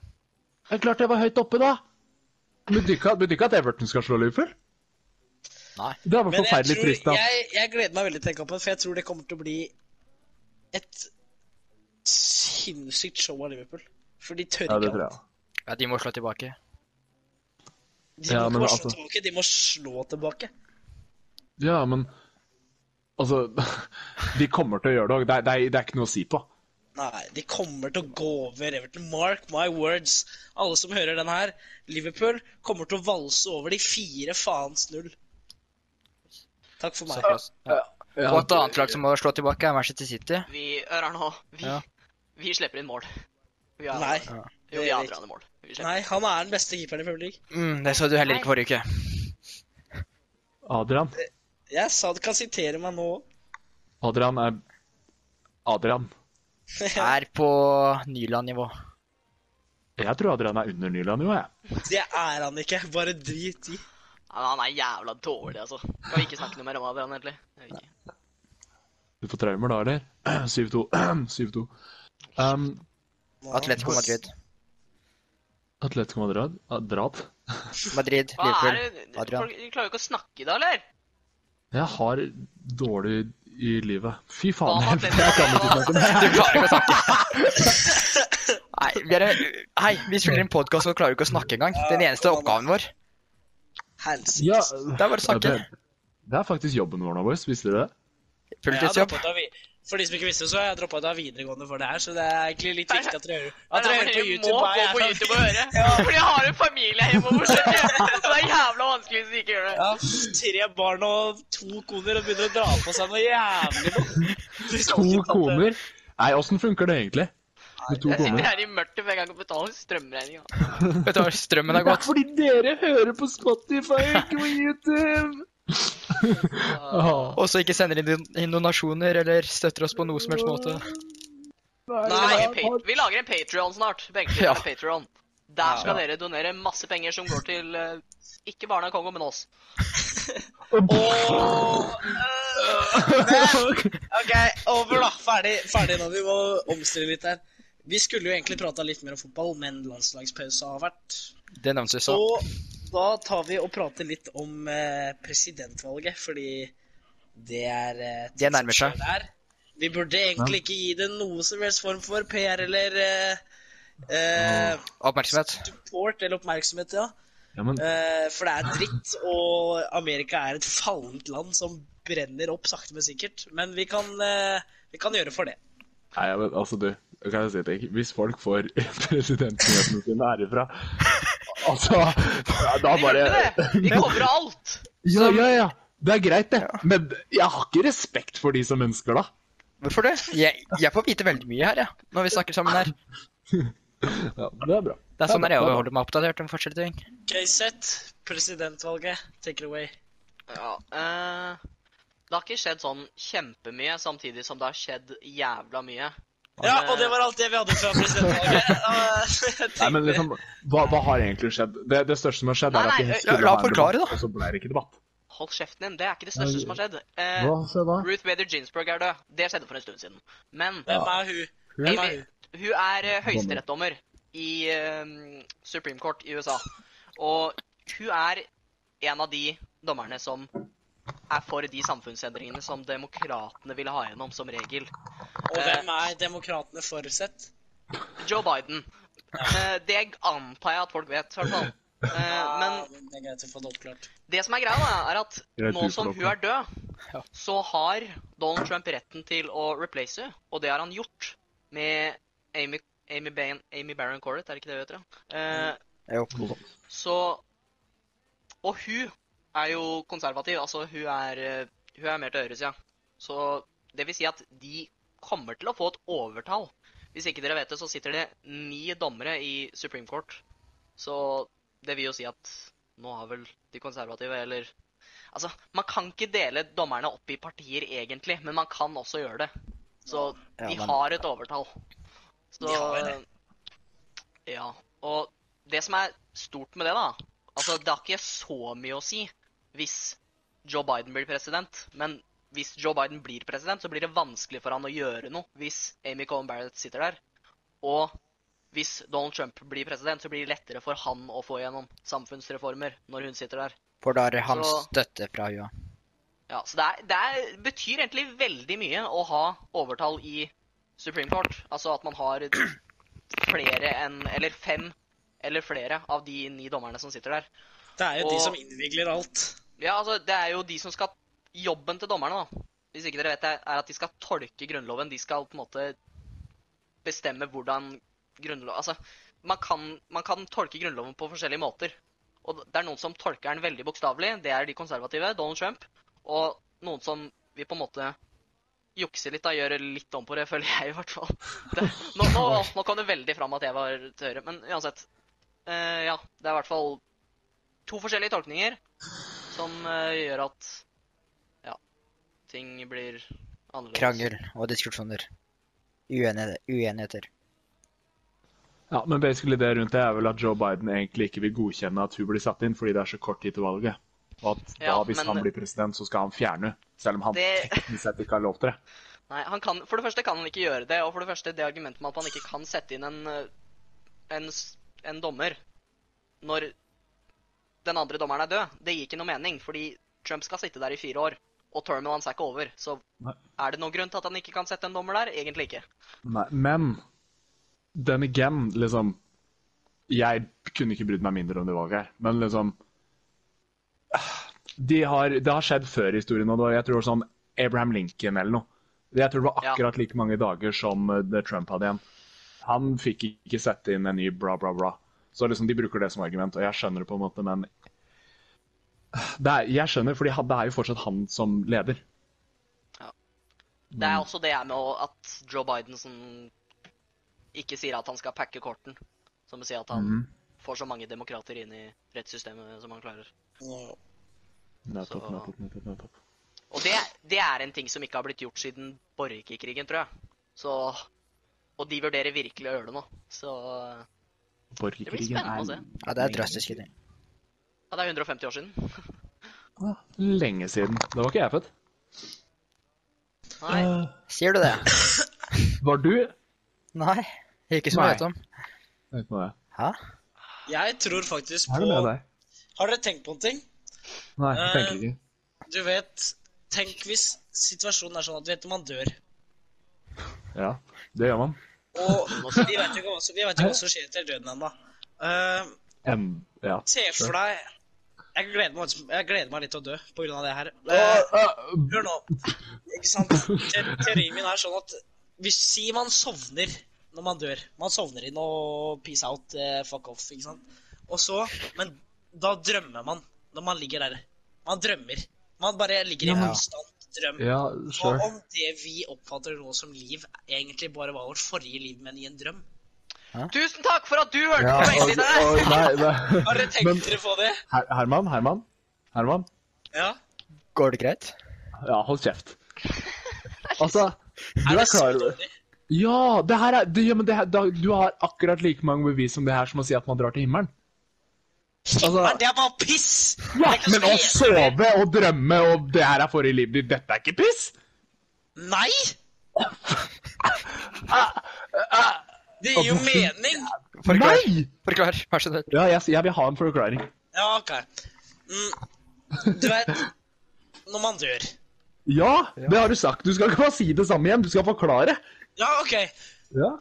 Det er klart jeg var høyt oppe, da! Betyr ikke at- betyr ikke at Everton skal slå Liverpool? Nei. Det var Men jeg, forferdelig tror, trist, da. jeg, jeg gleder meg veldig til den kampen, for jeg tror det kommer til å bli et sinnssykt show av Liverpool. For de tør Ja, det ikke tror alt. jeg. Ja, de må slå tilbake. De må Ja, ikke men bare slå altså- tilbake, de må slå tilbake. Ja, men Altså, de kommer til å gjøre det òg. Det, er- det, er- det er ikke noe å si på. Nei, de kommer til å gå over Everton. Mark my words. Alle som hører den her, Liverpool kommer til å valse over de fire faens null. Takk for meg. Såpass. Ja. Og et annet lag som må slå tilbake, er Manchester City. Vi hører nå. Vi, Ja. vi slipper inn mål. Vi er, Nei, Jo, vi det er avgjør alle mål. Vi slipper. nei, han er den beste keeperen i Premier League. Mm, det så du heller ikke forrige uke. Adrian. Jeg sa du kan sitere meg nå òg. Adrian er Adrian. Er på Nyland-nivå. Jeg tror Adrian er under Nyland, jo, jeg. Det er han ikke. Bare drit i. Ja, men han er jævla dårlig, altså. Kan vi ikke snakke noe mer om Adrian, egentlig? Jeg vet ikke. Du får traumer da, eller? 7-2. 7-2. Um, Nå- Atletico Madrid. Atletico Madrid Adrat. Madrid, Hva er Liverpool. det? Adrian. Folk de klarer jo ikke å snakke da, eller? Jeg har dårlig i livet. Fy Hva faen. med Jeg, Atletico? kan ikke snakke om det. Du klarer ikke å snakke. Nei, vi, er, hei, vi spiller en podkast og klarer ikke å snakke engang. Den eneste oppgaven vår. Helsikes. Ja, Det er bare å snakke. det, det er faktisk jobben vår nå, boys. Visste dere det? Jeg har Fulltidsjobb. droppet ut av vi- For de som ikke visste det, så har jeg droppa ut av videregående for det her, så det er egentlig litt viktig at dere hører at dere hører på Dere YouTube. må hva gå jeg på sa. YouTube og høre. Ja. Fordi jeg har en familie hjemme, skjønner du? Så det er jævla vanskelig hvis du ikke gjør det. Ja, tre barn og to koner og begynner å dra på seg noe jævlig noe. Du skal ikke To ta det. koner? Nei, åssen funker det egentlig? Med to Jeg sitter koner? her i mørket hver gang jeg betaler strømregninga. Vet du hva, strømmen har gått. fordi dere hører på Spotify, ikke på YouTube! Og så ikke sender inn don- inn donasjoner eller støtter oss på noe som helst måte. Nei, pa- vi lager en Patreon snart. Begge to Ja. har en Patreon. Der skal Ja. dere donere masse penger som går til eh, ikke barna i Kongo, men oss. Ok, over da. øh. Ferdig, ferdig nå. Vi må omstille litt her. Vi skulle jo egentlig prata litt mer om fotball, men landslagspausa har vært. Det nevnes jo så. Så da tar vi og prater litt om eh, presidentvalget, fordi det er eh, Det nærmer seg. det er. Vi burde egentlig ikke gi det noe som helst form for PR eller eh, eh, Oppmerksomhet. support eller oppmerksomhet, ja. Ja, men Eh, for det er dritt, og Amerika er et fallent land som brenner opp sakte, men sikkert. Men vi kan, eh, vi kan gjøre for det. Nei, ja, men altså, du. da Kan jeg si det? Hvis folk får presidentnyhetene sine herifra Altså, da Vi bare gjorde det! Vi covra alt! Ja, ja, ja. Det er greit, det. Men jeg har ikke respekt for de som ønsker det. Hvorfor det? Jeg, jeg får vite veldig mye her, jeg. Når vi snakker sammen her. Ja, det er bra. Det er sånn jeg holder meg oppdatert om forskjellige ting. Okay, sett presidentvalget. Take it away. Ja, eh, det har ikke skjedd sånn kjempemye, samtidig som det har skjedd jævla mye. Ja, og det var alt det vi hadde fra presidentvalget. Eh, jeg Nei, men tenkte- liksom, hva, hva har egentlig skjedd? Det, det største som har skjedd, er Nei, at de nei, skulle la- la ha en forklare, debatt, da. og så ble det ikke debatt. Hold kjeften din, det er ikke det største som har skjedd. Eh, Hva skjedde da? Ruth Bader Ginsburg er død. Det skjedde for en stund siden. Men Hvem er hun? Hvem er hun? Hun er eh, høyesterettsdommer i eh, Supreme Court i USA. Og hun er en av de dommerne som er for de samfunnsendringene som demokratene ville ha gjennom som regel. Og Eh. hvem er demokratene forutsett? Joe Biden. Eh, det antar jeg at folk vet, i hvert fall. Eh, Ja, men det er greit å få det oppklart. det som er greia, da, er at Jeg nå tror som på hun er Ja. død, så har Donald Trump retten til å replace henne, og det har han gjort med Amy, Amy, Bain, Amy Baron Corrett, er det ikke det hun heter? da? Eh, Jo. Så Og hun er jo konservativ. Altså, hun er, eh, hun er mer til høyresida. Så det vil si at de kommer til å få et overtall. Hvis ikke dere vet det, så sitter det ni dommere i Supreme Court. Så det vil jo si at nå har vel de konservative, eller Altså, man kan ikke dele dommerne opp i partier, egentlig, men man kan også gjøre det. Så Ja, de men- har et overtall. Så De har det. Ja. Og det som er stort med det, da, Altså, det har ikke så mye å si hvis Joe Biden blir president, men hvis Joe Biden blir president, så blir det vanskelig for han å gjøre noe hvis Amy Cohen Barrett sitter der. Og hvis Donald Trump blir president, så blir det lettere for han å få gjennom samfunnsreformer når hun sitter der. For da har han Så- støtte fra UA. Ja, så det, er, det er, betyr egentlig veldig mye å ha overtall i Supreme Court. Altså at man har flere enn Eller fem eller flere av de ni dommerne som sitter der. Det er jo Og- de som innvigler alt. Ja, altså, det er jo de som skal Jobben til dommerne, da, hvis ikke dere vet det, er at de skal tolke Grunnloven. De skal på en måte bestemme hvordan Grunnloven Altså, man kan, man kan tolke Grunnloven på forskjellige måter. Og det er noen som tolker den veldig bokstavelig. Det er de konservative, Donald Trump. Og noen som vil på en måte jukse litt, da. Gjøre litt om på det, føler jeg i hvert fall. Det, nå, nå, nå kom det veldig fram at jeg var til høyre, men uansett. Eh, ja, det er i hvert fall to forskjellige tolkninger som eh, gjør at ja, ting blir annerledes. Krangel og diskusjoner. Uenigheter. uenigheter. Ja, men basically det rundt det er vel at Joe Biden egentlig ikke vil godkjenne at hun blir satt inn, fordi det er så kort tid til valget. Og at da, Ja, hvis men- han blir president, så skal han fjerne henne. Selv om han Det- teknisk sett ikke har lov til det. Nei, han kan, For det første kan han ikke gjøre det, og for det første det argumentet med at man ikke kan sette inn en, eh, en, s- en dommer når den andre dommeren er død, det gir ikke noe mening, fordi Trump skal sitte der i fire år, og termen hans er ikke over. Så Nei. er det noen grunn til at han ikke kan sette en dommer der? Egentlig ikke. Nei, men then again, liksom Jeg kunne ikke brydd meg mindre om det valget her, men liksom de har, Det har skjedd før i historien, og det var, jeg tror sånn Abraham Lincoln eller noe. Jeg tror det var Ja. akkurat like mange dager som eh, det Trump hadde igjen. Han fikk ikke sette inn en ny bra, bra, bra. Så liksom de bruker det som argument, og jeg skjønner det på en måte, men det er, Jeg skjønner, for det er jo fortsatt han som leder. Det er også det jeg med å- at Joe Biden som ikke sier at han skal pakke korten, som sier at han Mhm. får så mange demokrater inn i rettssystemet som han klarer. Nettopp, Så- nettopp, nettopp, nettopp. Og det, det er en ting som ikke har blitt gjort siden borgerkrigen, tror jeg. Så Og de vurderer virkelig å gjøre det nå. Så Ja, Borgerkrigen spennende å er se. Ja, det er drastiske ting. det er 150 år siden. Ah, lenge siden. Da var ikke jeg født. Nei. Sier du det? Var du? Nei. Ikke som Nei. jeg vet om. Vet ikke hva det er. Hæ? Jeg tror faktisk Er på det med deg? Har dere tenkt på en ting? Nei, jeg Eh, tenker ikke. Du vet Tenk hvis situasjonen er sånn at du vet om man dør. Ja, det gjør man. Og vi vet jo ikke hva som, vi vet jo ikke hva som skjer etter døden ennå. Eh, En, ja. se for deg jeg gleder, meg, jeg gleder meg litt til å dø på grunn av det her. Eh, Åh, åh, Hør nå. Ikke sant? Te teorien min er sånn at hvis si man sovner når man dør Man sovner inn og peace out, eh, fuck off, ikke sant? Og så Men da drømmer man når man ligger der. Man drømmer. Man bare ligger i Ja. konstant drøm. ja, Og sure. om det vi oppfatter nå som liv, egentlig bare var vårt forrige liv, men i en drøm. Tusen takk for at du hørte Ja, på og- Veldig der! og- nei, Har dere nei. tenkt Men dere på det? Her- Herman, Herman, Herman. Ja. Går det greit? Ja, hold kjeft. Altså, du er det så klar over dårlig? Ja, det her er, det, ja, men det her, da, du har akkurat like mange bevis som det her som å si at man drar til himmelen. Altså, Men det er bare piss! ja, Det er ikke men så å mye- sove og drømme og det her er forrige liv ditt, dette er ikke piss! Nei! Ah, Det gir jo mening. Forklar. Nei! Forklar, vær så snill. Ja, jeg, jeg vil ha en forklaring. Ja, OK. Mm, du vet Når man dør Ja, det har du sagt. Du skal ikke bare si det samme igjen, du skal forklare. Ja, OK. Ja.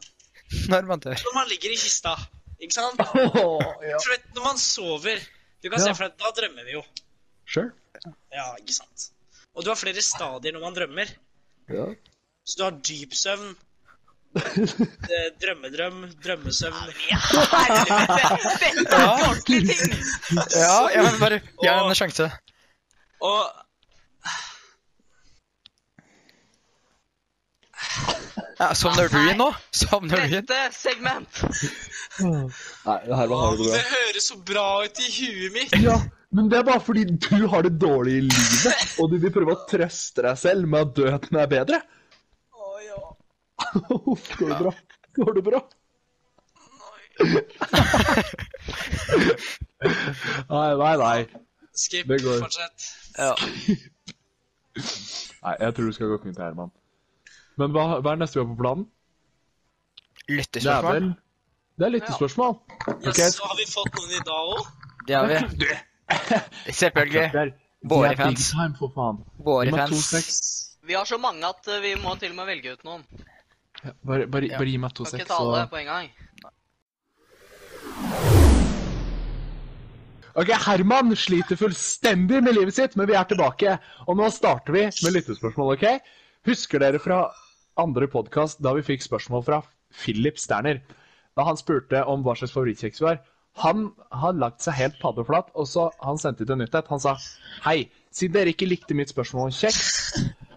Når man dør. Når man ligger i kista, ikke sant? ja. Du vet, når man sover Du kan Ja. se for deg Da drømmer vi jo. Sure. Ja, ikke sant? Og du har flere stadier når man drømmer. Ja. Så du har dyp søvn, eh, drømmedrøm, drømmesøvn Helvete! Dette er ordentlige ting! Ja, ja, men bare gi ham en sjanse. Og Ja, sovner du inn nå? Sovner du inn? Dette segment. Nei, det her var det høres så bra ut i huet mitt. Ja, men det er bare fordi du har det dårlig i livet, og du vil prøve å trøste deg selv med at døden er bedre. Å, ja. Uff, Går det bra? Går det bra? Nei, nei, nei. Skip, Det går. fortsett. Ja. Nei, Jeg tror det skal gå fint, Herman. Men hva, hva er neste vi har på planen? Det er Lyttespørsmål? vel Det er lyttespørsmål. Ja, Ok. så har vi fått noen i dag òg. Det har vi. Selvfølgelig. Våre Det er big fans. Time, for faen. Våre Nummer to, fans. seks. Vi har så mange at eh, vi må til og med velge ut noen. Bare, bare, Ja. bare gi meg to Kan seks, ikke ta alle på en gang. Ok, Herman sliter fullstendig med livet sitt, men vi er tilbake. Og nå starter vi med lyttespørsmål, ok? Husker dere fra andre podkast da vi fikk spørsmål fra Philip Sterner? Da han spurte om hva slags favorittkjeks vi var. Han har lagt seg helt paddeflat, og så han sendte ut en nytt et. Han sa hei, siden dere ikke likte mitt spørsmål om kjeks,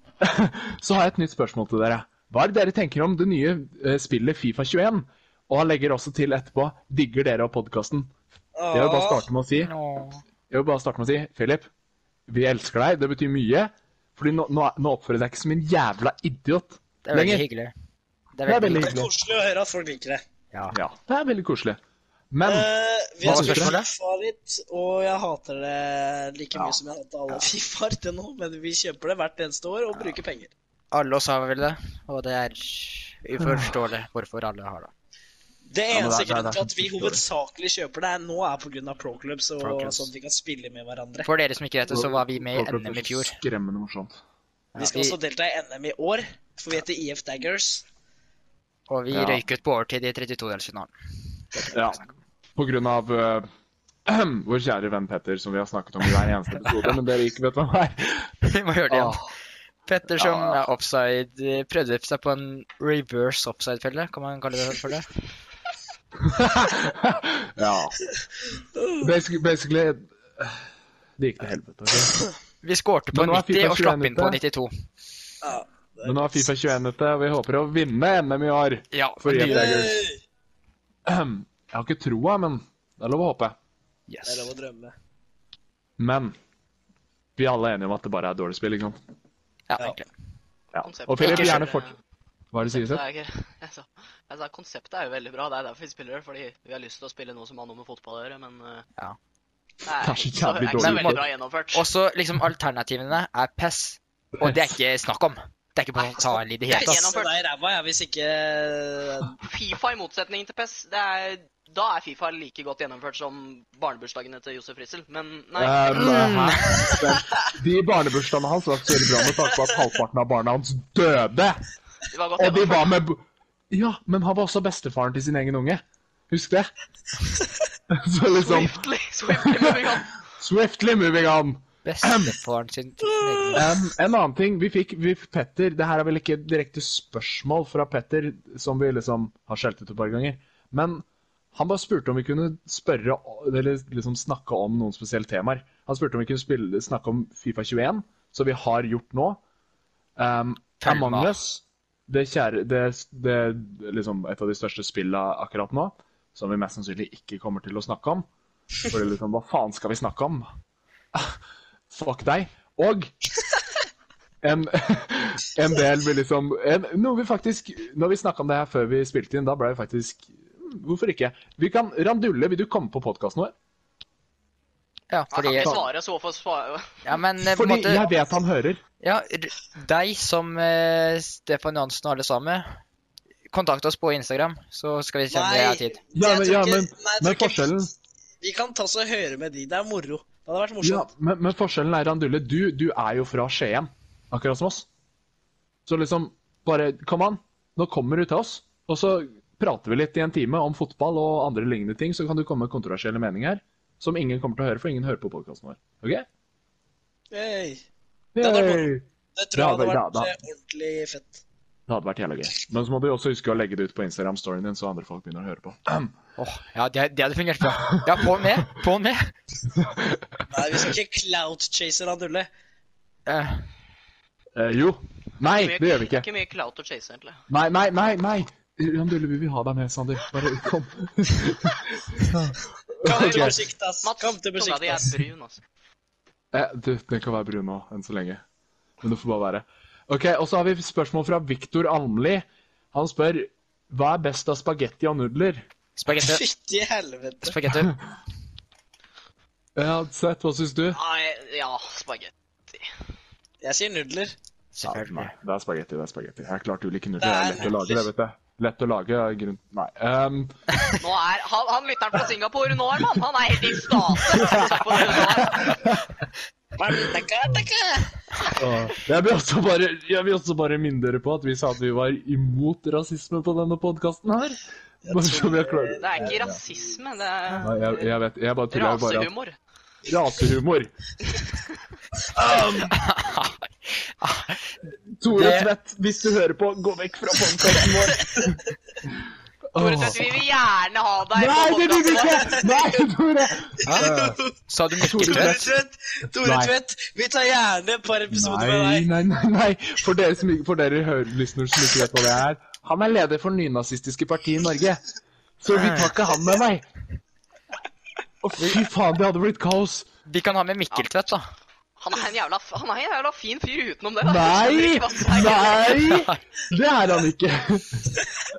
så har jeg et nytt spørsmål til dere. Hva er det dere tenker om det nye eh, spillet Fifa 21? Og han legger også til etterpå digger dere og podkasten. Det vil jeg bare starte med å si. Åh. Jeg vil bare starte med å si, Philip, vi elsker deg. Det betyr mye. Fordi nå, nå, nå oppfører du deg ikke som en jævla idiot. Det er veldig Lenger. hyggelig. Det er veldig Det er hyggelig. koselig å høre at folk liker det. Ja, det er veldig koselig. Men Eh, vi har Hva var spilt spørsmålet? Fifa-ritt, og jeg hater det like mye Ja. som jeg hater alle Fifa-er til nå, men vi kjøper det hvert eneste år og bruker penger. Alle oss har vel det, og det er uforståelig hvorfor alle har det. Det men det eneste er- det er grunnen til at derfor vi vi spiller. hovedsakelig kjøper det er nå, er pga. pro-clubs og Pro clubs. sånn at vi kan spille med hverandre. For dere som ikke vet det, så var vi med i NM i fjor. Skremmende morsomt. Vi skal også delta i NM i år, for vi heter IF Daggers. Og vi Ja. røyk ut på overtid i 32-delsfinalen. Ja. På grunn av eh, vår kjære venn Petter, som vi har snakket om i hver eneste episode, men dere ikke vet hvem er. Vi må gjøre det igjen. Petter som Ja. er offside, eh, prøvde seg på en reverse offside-felle, kan man kalle det for det? Ja. Basically, basically Det gikk til helvete. ok? Vi skårte på Men nå er 90 og FIFA slapp inn på 21 92. Ja. Men nå er Fifa 21 ute, og vi håper å vinne NM i år. Ja, For men IF det- Daggers. Eh, Jeg har ikke troa, men det er lov å håpe. Det er yes. lov å drømme. Men vi er alle enige om at det bare er dårlig spill, ikke sant? Ja, egentlig. Ja. Konseptet Og Philip, er- gjerne fort... Hva er det du sier, Det Seth? er ikke, jeg, sa, jeg sa konseptet er jo veldig bra. Det er derfor vi spiller det. Fordi vi har lyst til å spille noe som har noe med fotball å gjøre, men eh, Ja. Det er Det er så ikke så, jævlig det er ikke så dårlig. veldig bra gjennomført. Også liksom alternativene er PES, og det er ikke snakk om. Det er ikke på talen i det hele Det er tatt. gjennom- Så deg i ræva, jeg, hvis ikke Fifa i motsetning til PES, det er, da er Fifa like godt gjennomført som barnebursdagene til Josef Rissel. Men nei, Eh, men hæ? Vent. De barnebursdagene hans var ikke så veldig bra med tanke på at halvparten av barna hans døde. det var godt Og de gjennomført. var med bo- Ja, men han var også bestefaren til sin egen unge. Husk det. Så liksom Swiftly, swiftly moving on. Swiftly moving on. Bestefaren sin Um, en annen ting vi fikk vi, Petter, det her er vel ikke direkte spørsmål fra Petter, som vi liksom har skjelt ut et par ganger, men han bare spurte om vi kunne spørre, o- eller liksom snakke om noen spesielle temaer. Han spurte om vi kunne spille, snakke om Fifa 21, som vi har gjort nå. Um, Følg Among med. Us, det kjære, det, det, liksom et av de største spillene akkurat nå, som vi mest sannsynlig ikke kommer til å snakke om. For liksom, hva faen skal vi snakke om? Fuck deg. Og en, en del vil liksom en, Noe vi faktisk Når vi snakka om det her før vi spilte inn, da ble vi faktisk mm, Hvorfor ikke? Vi kan Randulle, vil du komme på podkasten vår? Ja, Han kan fordi ikke svare, så hvorfor svare? Ja, men eh, på en Fordi måte jeg vet han hører. Ja, r- deg som eh, Stefan Johansen og alle sammen, kontakt oss på Instagram, så skal vi se om vi har tid. Ja, jeg men, tror ja, ikke- men, nei, jeg tror men ikke- forskjellen Vi kan ta oss og høre med de. Det er moro. Det hadde vært ja, morsomt. men, men forskjellen er, Randulle, du, du er jo fra Skien, akkurat som oss. Så liksom bare Kom an, nå kommer du til oss. Og så prater vi litt i en time om fotball og andre lignende ting, så kan du komme med kontroversielle meninger som ingen kommer til å høre, for ingen hører på podkasten vår. OK? Hey. Ja, det er Yay! Det tror jeg Ja, hadde vel, vært da- da- eh, ordentlig fett. Det hadde vært jævla gøy. Men så må du også huske å legge det ut på Instagram-storyen din, så andre folk begynner å høre på. Åh, ja, det, det hadde fungert bra. Ja, på'n med! På'n med! Nei, vi skal ikke clout-chase Randulle. Eh, Eh, jo. Nei, det gjør vi ikke. Ikke mye clout å chase, egentlig. Nei, nei, nei. nei. Randulle, vi vil ha deg med, Sander. Bare kom. Kom til Ok. Besiktas. Mats, Kom til tunga di er Besiktas. brun, altså. Eh, du, den kan være brun nå, enn så lenge. Men det får bare være. Ok, Og så har vi spørsmål fra Viktor Almli. Han spør hva er best av spagetti og nudler? spagetti. Fytti helvete. Spagetti. Ja, Seth, hva syns du? Nei, ja, spagetti. Jeg sier nudler. Selvfølgelig. Nei, det er spagetti. det er spagetti. Jeg er klart ulike nutter. Det Det er er lett å lage, det vet jeg. Lett å lage er grunn... Nei. ehm, Nå er han, han lytteren fra Singapore nå, Herman. Han er helt i ekstase. når han ser på det nå her. Takka, takka. og jeg, vil også bare, jeg vil også bare minne dere på at vi sa at vi var imot rasisme på denne podkasten her. Bare så vi er klare. Det er ikke rasisme, det Nei, jeg, er jeg vet, jeg bare tuller. jeg Bare rasehumor. rasehumor. Um, Tore Det- Tvedt, hvis du hører på, gå vekk fra podkasten vår. Tore Åh. Tvedt, vi vil gjerne ha deg på Nei, det vil vi podcasten vår. ikke! Nei, Tore! Hæ? Sa du Tore Mikke Tore Tvedt? Tvedt, Tore Nei. Tvedt, vi tar gjerne et par episoder med Nei, deg. nei, nei, nei. For dere, som, ikke- for dere hører- lyssnere som ikke vet hva det er Han er leder for Nynazistiske Parti i Norge. Så vi tar ikke han med, nei. Å, fy faen, det hadde blitt kaos. Vi kan ha med Mikkel Tvedt, da. Han er en jævla, f- han er en jævla fin fyr utenom det. da. Nei! Jeg skjønner ikke hva som er greia. Nei! Det er han ikke.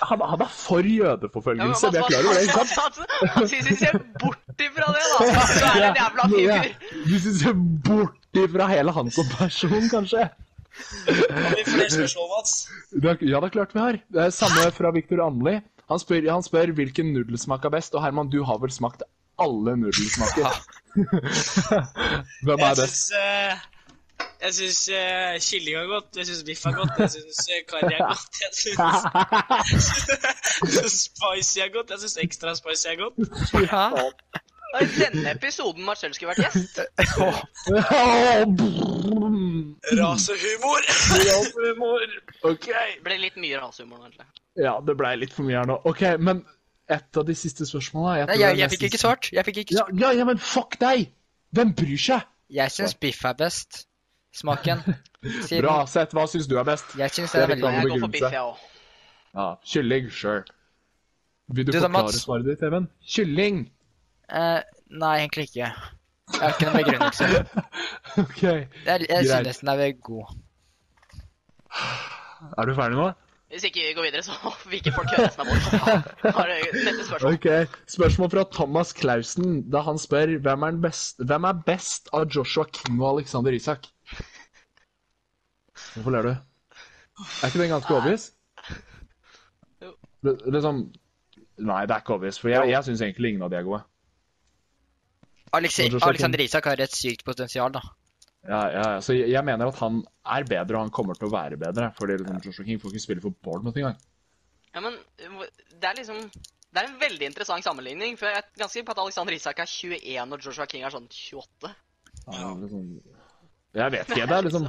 Han, han er for Ja, men jødeforfølgelse, han- det er klar over det. ikke sant? han- han- Han synes vi ser bort ifra det, da. Du er en jævla fin Ja, fyr. Hvis du ser bort ifra hele han som person, kanskje. Har vi flere spørsmål, Mats? Det er, ja, det er klart vi har. Det er samme fra Victor Andli. Han spør, han spør hvilken nudel smaker best, og Herman, du har vel smakt alle nudelsmaker? Hvem er Jeg syns best? eh, jeg syns eh, kylling er godt, jeg syns biff er godt, jeg syns eh, karri er godt, jeg syns spicy er godt, jeg syns ekstra spicy er godt. Hæ? Og I denne episoden Marcel skulle vært gjest. Åh, Åh, brum. Rasehumor! OK. Ble litt mye rasehumor nå, egentlig. Ja, det blei litt for mye her nå. OK, men et av de siste spørsmåla Nei, jeg, jeg fikk ikke svart. Jeg fikk ikke Ja, svart. ja, ja, men fuck deg! Hvem bryr seg? Jeg syns biff er best. Smaken. Siden Bra, Seth. Hva syns du er best? Jeg syns det er Erik, veldig Jeg går for begrunnelse. biff, jeg òg. Ja, Kylling, sure. Vil du, Du da, forklare Mats? svaret ditt, Even? Kylling. Eh, Nei, egentlig ikke. Jeg har ikke noen begrunnelse. OK. Er Jeg, jeg Greit. synes den er god. du ferdig nå? Hvis ikke vi går videre, så hvilke folk hører resten av vår? Har du- Neste spørsmål. Ok, Spørsmål fra Thomas Clausen, da han spør hvem er, den best, hvem er best av Joshua King og Alexander Isak? Hvorfor ler du? Er ikke den ganske obvious? Jo. Det- Liksom Nei, det er ikke obvious, for jeg, jeg syns egentlig ingen av de er gode. Alexi Når du snakker om- Alexander Isak har et sykt potensial, da. Ja, ja, ja. Så jeg, jeg mener at han er bedre, og han kommer til å være bedre. Fordi liksom, Joshua King får ikke spille for Bournemouth engang. Ja, men hvor- det er liksom Det er en veldig interessant sammenligning. For jeg er ganske sikker på at Alexander Isak er 21 og Joshua King er sånn 28. Han er Liksom, jeg vet ikke, det er liksom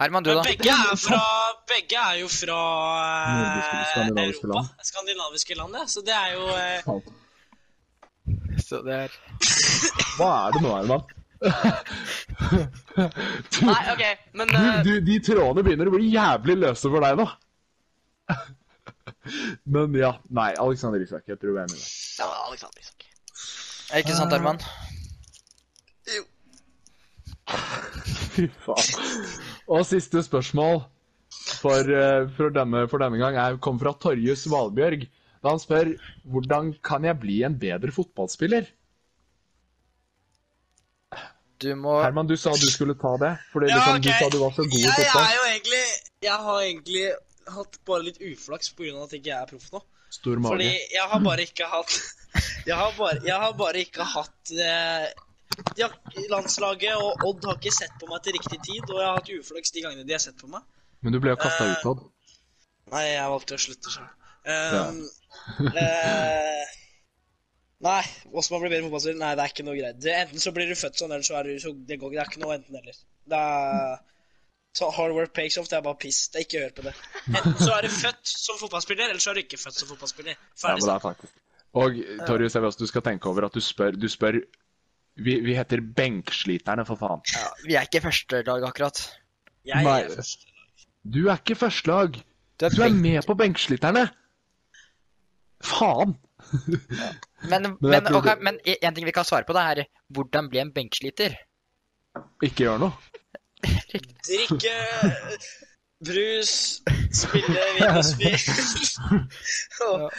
Herman, du, Men da? begge er, fra, begge er jo fra eh, Nordiske- skandinaviske Europa. land. Skandinaviske land, ja. Så det er jo eh, Så det er Hva er det nå, Herman? Du- Nei, OK, men Du, eh, du, de trådene begynner å bli jævlig løse for deg nå. Men ja. Nei, Alexander Isak. Jeg tror jeg er enig i det. ja, Alexander Isak. Er ikke sant, Herman? Fy faen. Og siste spørsmål for, eh, for, denne, for denne gang er, kom fra Torjus Valbjørg. Da han spør hvordan kan jeg bli en bedre fotballspiller? Du må Herman, du sa du skulle ta det. Fordi Ja, liksom, ok. du sa du var så god i Jeg er fotball. jo egentlig Jeg har egentlig hatt bare litt uflaks på grunn av at jeg ikke er proff nå. Stor mage. Fordi jeg har bare ikke hatt Jeg har bare, jeg har bare ikke hatt eh, de har- Landslaget og Odd har ikke sett på meg til riktig tid, og jeg har hatt uflaks de gangene de har sett på meg. Men du ble jo kasta Eh, ut av det. Nei, jeg valgte å slutte Ehm, sjøl. nei, hvordan man blir bedre fotballspiller? Nei, det er ikke noe greit. Det, enten så blir du født sånn, eller så er du så, Det går ikke. Det er ikke noe enten eller. Det er så Hard work pays off. Det er bare piss. Det er ikke hør på det. Enten så er du født som fotballspiller, eller så er du ikke født som fotballspiller. Ja, men Ferdig det snakk. er faktisk. Og Torjus, jeg vil også du skal tenke over at du spør, du spør vi, vi heter Benksliterne, for faen. ja, Vi er ikke første lag, akkurat. Jeg Nei. er først. Du er ikke førstelag. Du er Du er begge. med på benkesliterne! Faen! Men, Men men, jeg tror ok, det- men e- en ting vi kan svare på, det er hvordan bli en benkesliter. Ikke gjør noe. Drikke Brus, spille videospill og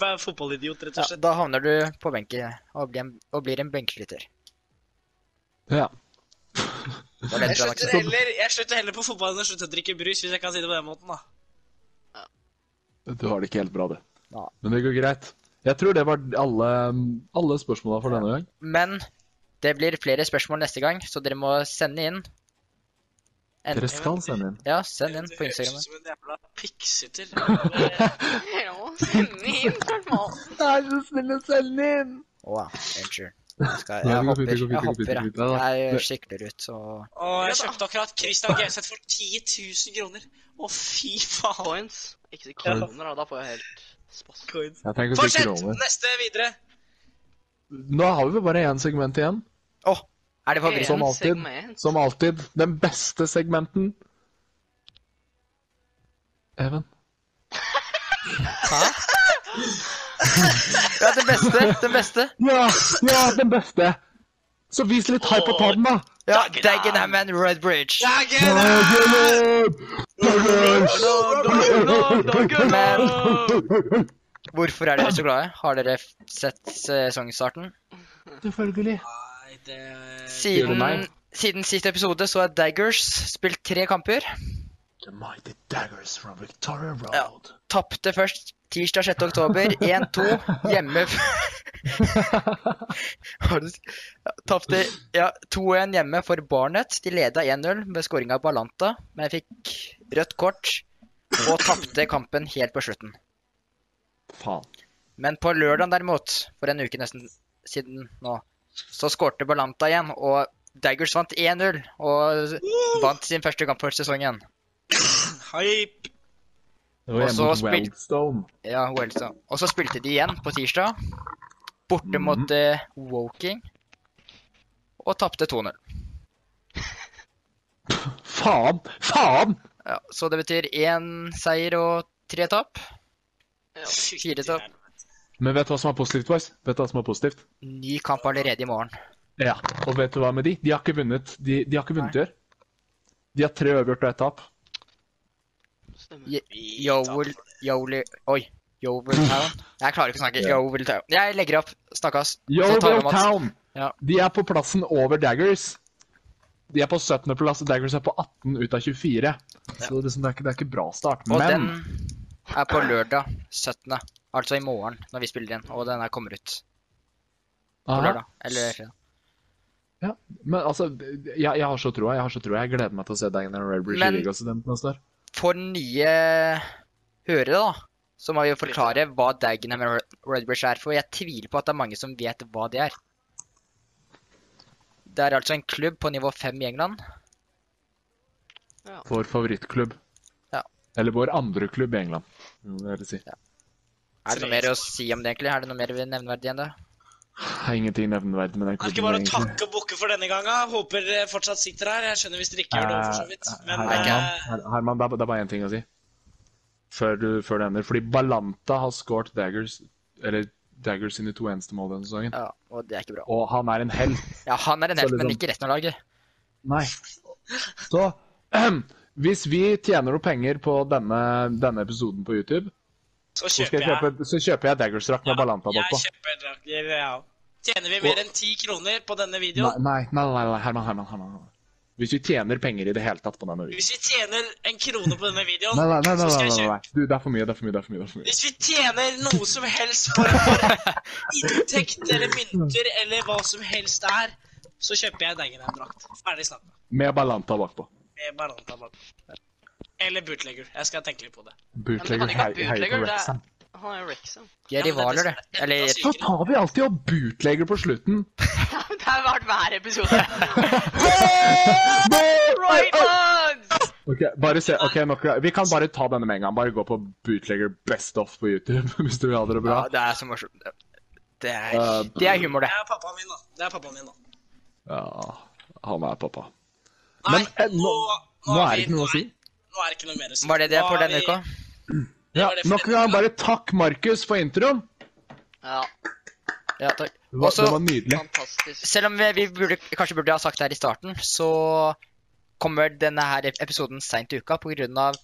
være fotballidiot, rett og Ja, slett. da havner du på benken og blir en, og blir en benkslutter. Ja. Det var Jeg det du hadde lagt slutter, til. heller, jeg slutter heller på fotball enn å slutte å drikke brus, hvis jeg kan si det på den måten, da. Du har det ikke helt bra, du. Ja. Men det går greit. Jeg tror det var alle, alle spørsmåla for denne gang. Men det blir flere spørsmål neste gang, så dere må sende inn. En, Dere skal sende inn. ja, send inn på Det høres Instagram. ut som en jævla pikksytter. Ja, send inn spørsmål. Vær så snill å sende inn! Å, ja, unnskyld. Jeg, skal, Nei, jeg det går fint, hopper, det går fint, jeg det går fint, hopper, det går jeg. fint. Nei, nei, Jeg det- skikler ut, så Og jeg Ja da. kjøpte akkurat Christian Geseth for 10 000 kroner. Å, fy faen. Coins. Ikke så kroner, da. Da får jeg helt spass. Coins. Jeg tenker å si Fortsett! kroner. Neste videre. Nå har vi bare én segment igjen. Er det favoritten? Som En alltid. segment. Som alltid. Den beste segmenten. Even. Hæ? Ja, den beste! Den beste! Ja! ja den beste! Så vis litt hype på den, da! Ja, Dagenham and Redbridge. Men hvorfor er dere så glade? Har dere f- sett sesongstarten? Selvfølgelig. Nei, det Sier du Siden, meg? siden sist episode så har Daggers spilt tre kamper. The mighty daggers from Victoria Road. Ja. Tapte først tirsdag 6. oktober 1-2 hjemme Har du s- ja, Tapte ja, 2-1 hjemme for Barnet. De leda 1-0 med scoring av Balanta, men fikk rødt kort og tapte kampen helt på slutten. Faen. Men på lørdag derimot, for en uke nesten siden nå, så skårte Balanta igjen, og Daggers vant 1-0 og vant sin første kamp for sesongen. Hype. Det var Og så hjemme mot spil- Wellstone. Ja, Wellstone. Og så spilte de igjen på tirsdag, borte Mhm. mot eh, Woking, og tapte 2-0. Faen! Faen! Ja, så det betyr én seier og tre tap. Ja. Fire tap. Men vet du hva som er positivt, boys? Vet du hva som er positivt? Ny kamp allerede i morgen. Ja. Og vet du hva med de? De har ikke vunnet De, de har ikke vunnet i år. De har tre uavgjort og ett tap. Stemmer. Je- Joel Joel Oi. Joel Town. Jeg klarer ikke å snakke. Joel Town. Jeg legger opp. Snakkes. Yo, Så tar vi Will Mats. Town! Ja. De er på plassen over Daggers. De er på 17. plass, og Daggers er på 18 ut av 24. Så liksom, det, er ikke, det er ikke bra start. Og Men den er på lørdag 17. Altså i morgen når vi spiller inn. Og den her kommer ut på Aha. lørdag. Eller fredag. Ja, men altså, jeg, jeg har så troa. Jeg har så troa. Jeg gleder meg til å se Dagen and Redbridge Men- i Ligaen neste år. For nye hørere, da, så må vi jo forklare hva Dagenham og Red- Redbridge er. For jeg tviler på at det er mange som vet hva det er. Det er altså en klubb på nivå 5 i England. Vår favorittklubb. Ja. Eller vår andre klubb i England, må vi heller si. Er det noe mer å si om det, egentlig? Er det noe mer vi nevneverdig enn det? Det er Ingenting nevneverdig med den Kan klubben. ikke bare egentlig. takke og bukke for denne gangen. Håper dere fortsatt sitter her. Jeg skjønner hvis dere ikke gjør det, for så vidt. Eh, Men Herman, eh, Her- Herman, det er, det er bare én ting å si før, du, før det ender. Fordi Balanta har scoret Daggers Eller Daggers sine to eneste mål denne sesongen. Ja, og det er ikke bra. Og han er en helt. Ja, han er en Så helt, men liksom- ikke resten av laget. Nei. Så hvis vi tjener noe penger på denne, denne episoden på YouTube, så så, skal kjøper jeg jeg. kjøpe, så kjøper jeg Daggers-drakt med Balanta bakpå. Jeg kjøper drakter, ja. Tjener vi mer enn ti kroner på denne Nei, videoen? nei, nei, nei, nei, Herman, Herman, Herman. Herman. Hvis vi tjener penger i det hele tatt på denne videoen Hvis vi tjener en krone på denne videoen, Nei, nei, nei, nei, så skal nei, jeg nei, kjøpe. nei. Du, det er for mye, det er for mye. det er for mye, det er for mye. Hvis vi tjener noe som helst for for inntekt eller mynter eller hva som helst det er, så kjøper jeg deg en drakt. Ferdig snakka. Med Balanta bakpå. Med Baranta bak. Eller bootlegger. Jeg skal tenke litt på det. Men Bootlegger det kan hei- ikke heier være på bootlegger, det Wrexham. er Han er jo Rexham. De Ja, er men det er rivaler, det det. som er Eller enda Så tar vi alltid og bootlegger på slutten. Det har vært hver episode. Oi, oi. Raymonds! Ok, bare se, ok, nok, Vi kan bare ta denne med en gang. Bare gå på bootlegger best off på YouTube hvis du vil ha det bra. Ja, det er så morsomt. Det er, Ja, det er humor, Det det. er pappaen min, da. Det er pappaen min, da. Ja, han er pappa. Nei, Men, eh, nå- Nå har er vi- det ikke noe å si. Nå er det ikke noe mer å si. Var det det Nå for har denne vi- uka? Ja, var det for nok en gang bare takk Markus for introen. Ja, Ja, takk. Det var, Også- det var nydelig. fantastisk. Selv om vi, vi burde, kanskje burde ha sagt det her i starten, så kommer denne her episoden seint i uka pga.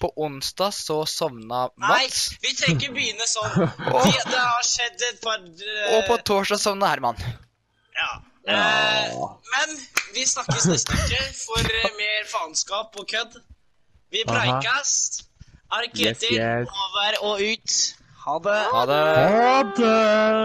På onsdag så sovna Nei, Mats, vi trenger ikke begynne sånn. Det, det har skjedd et par eh, og på torsdag sovna Herman. ja. Eh, men vi snakkes neste uke for eh, mer faenskap og kødd. Vi preikas. Er Yes, Ketil yes. over og ut. Ha det. Ha det. Ha det!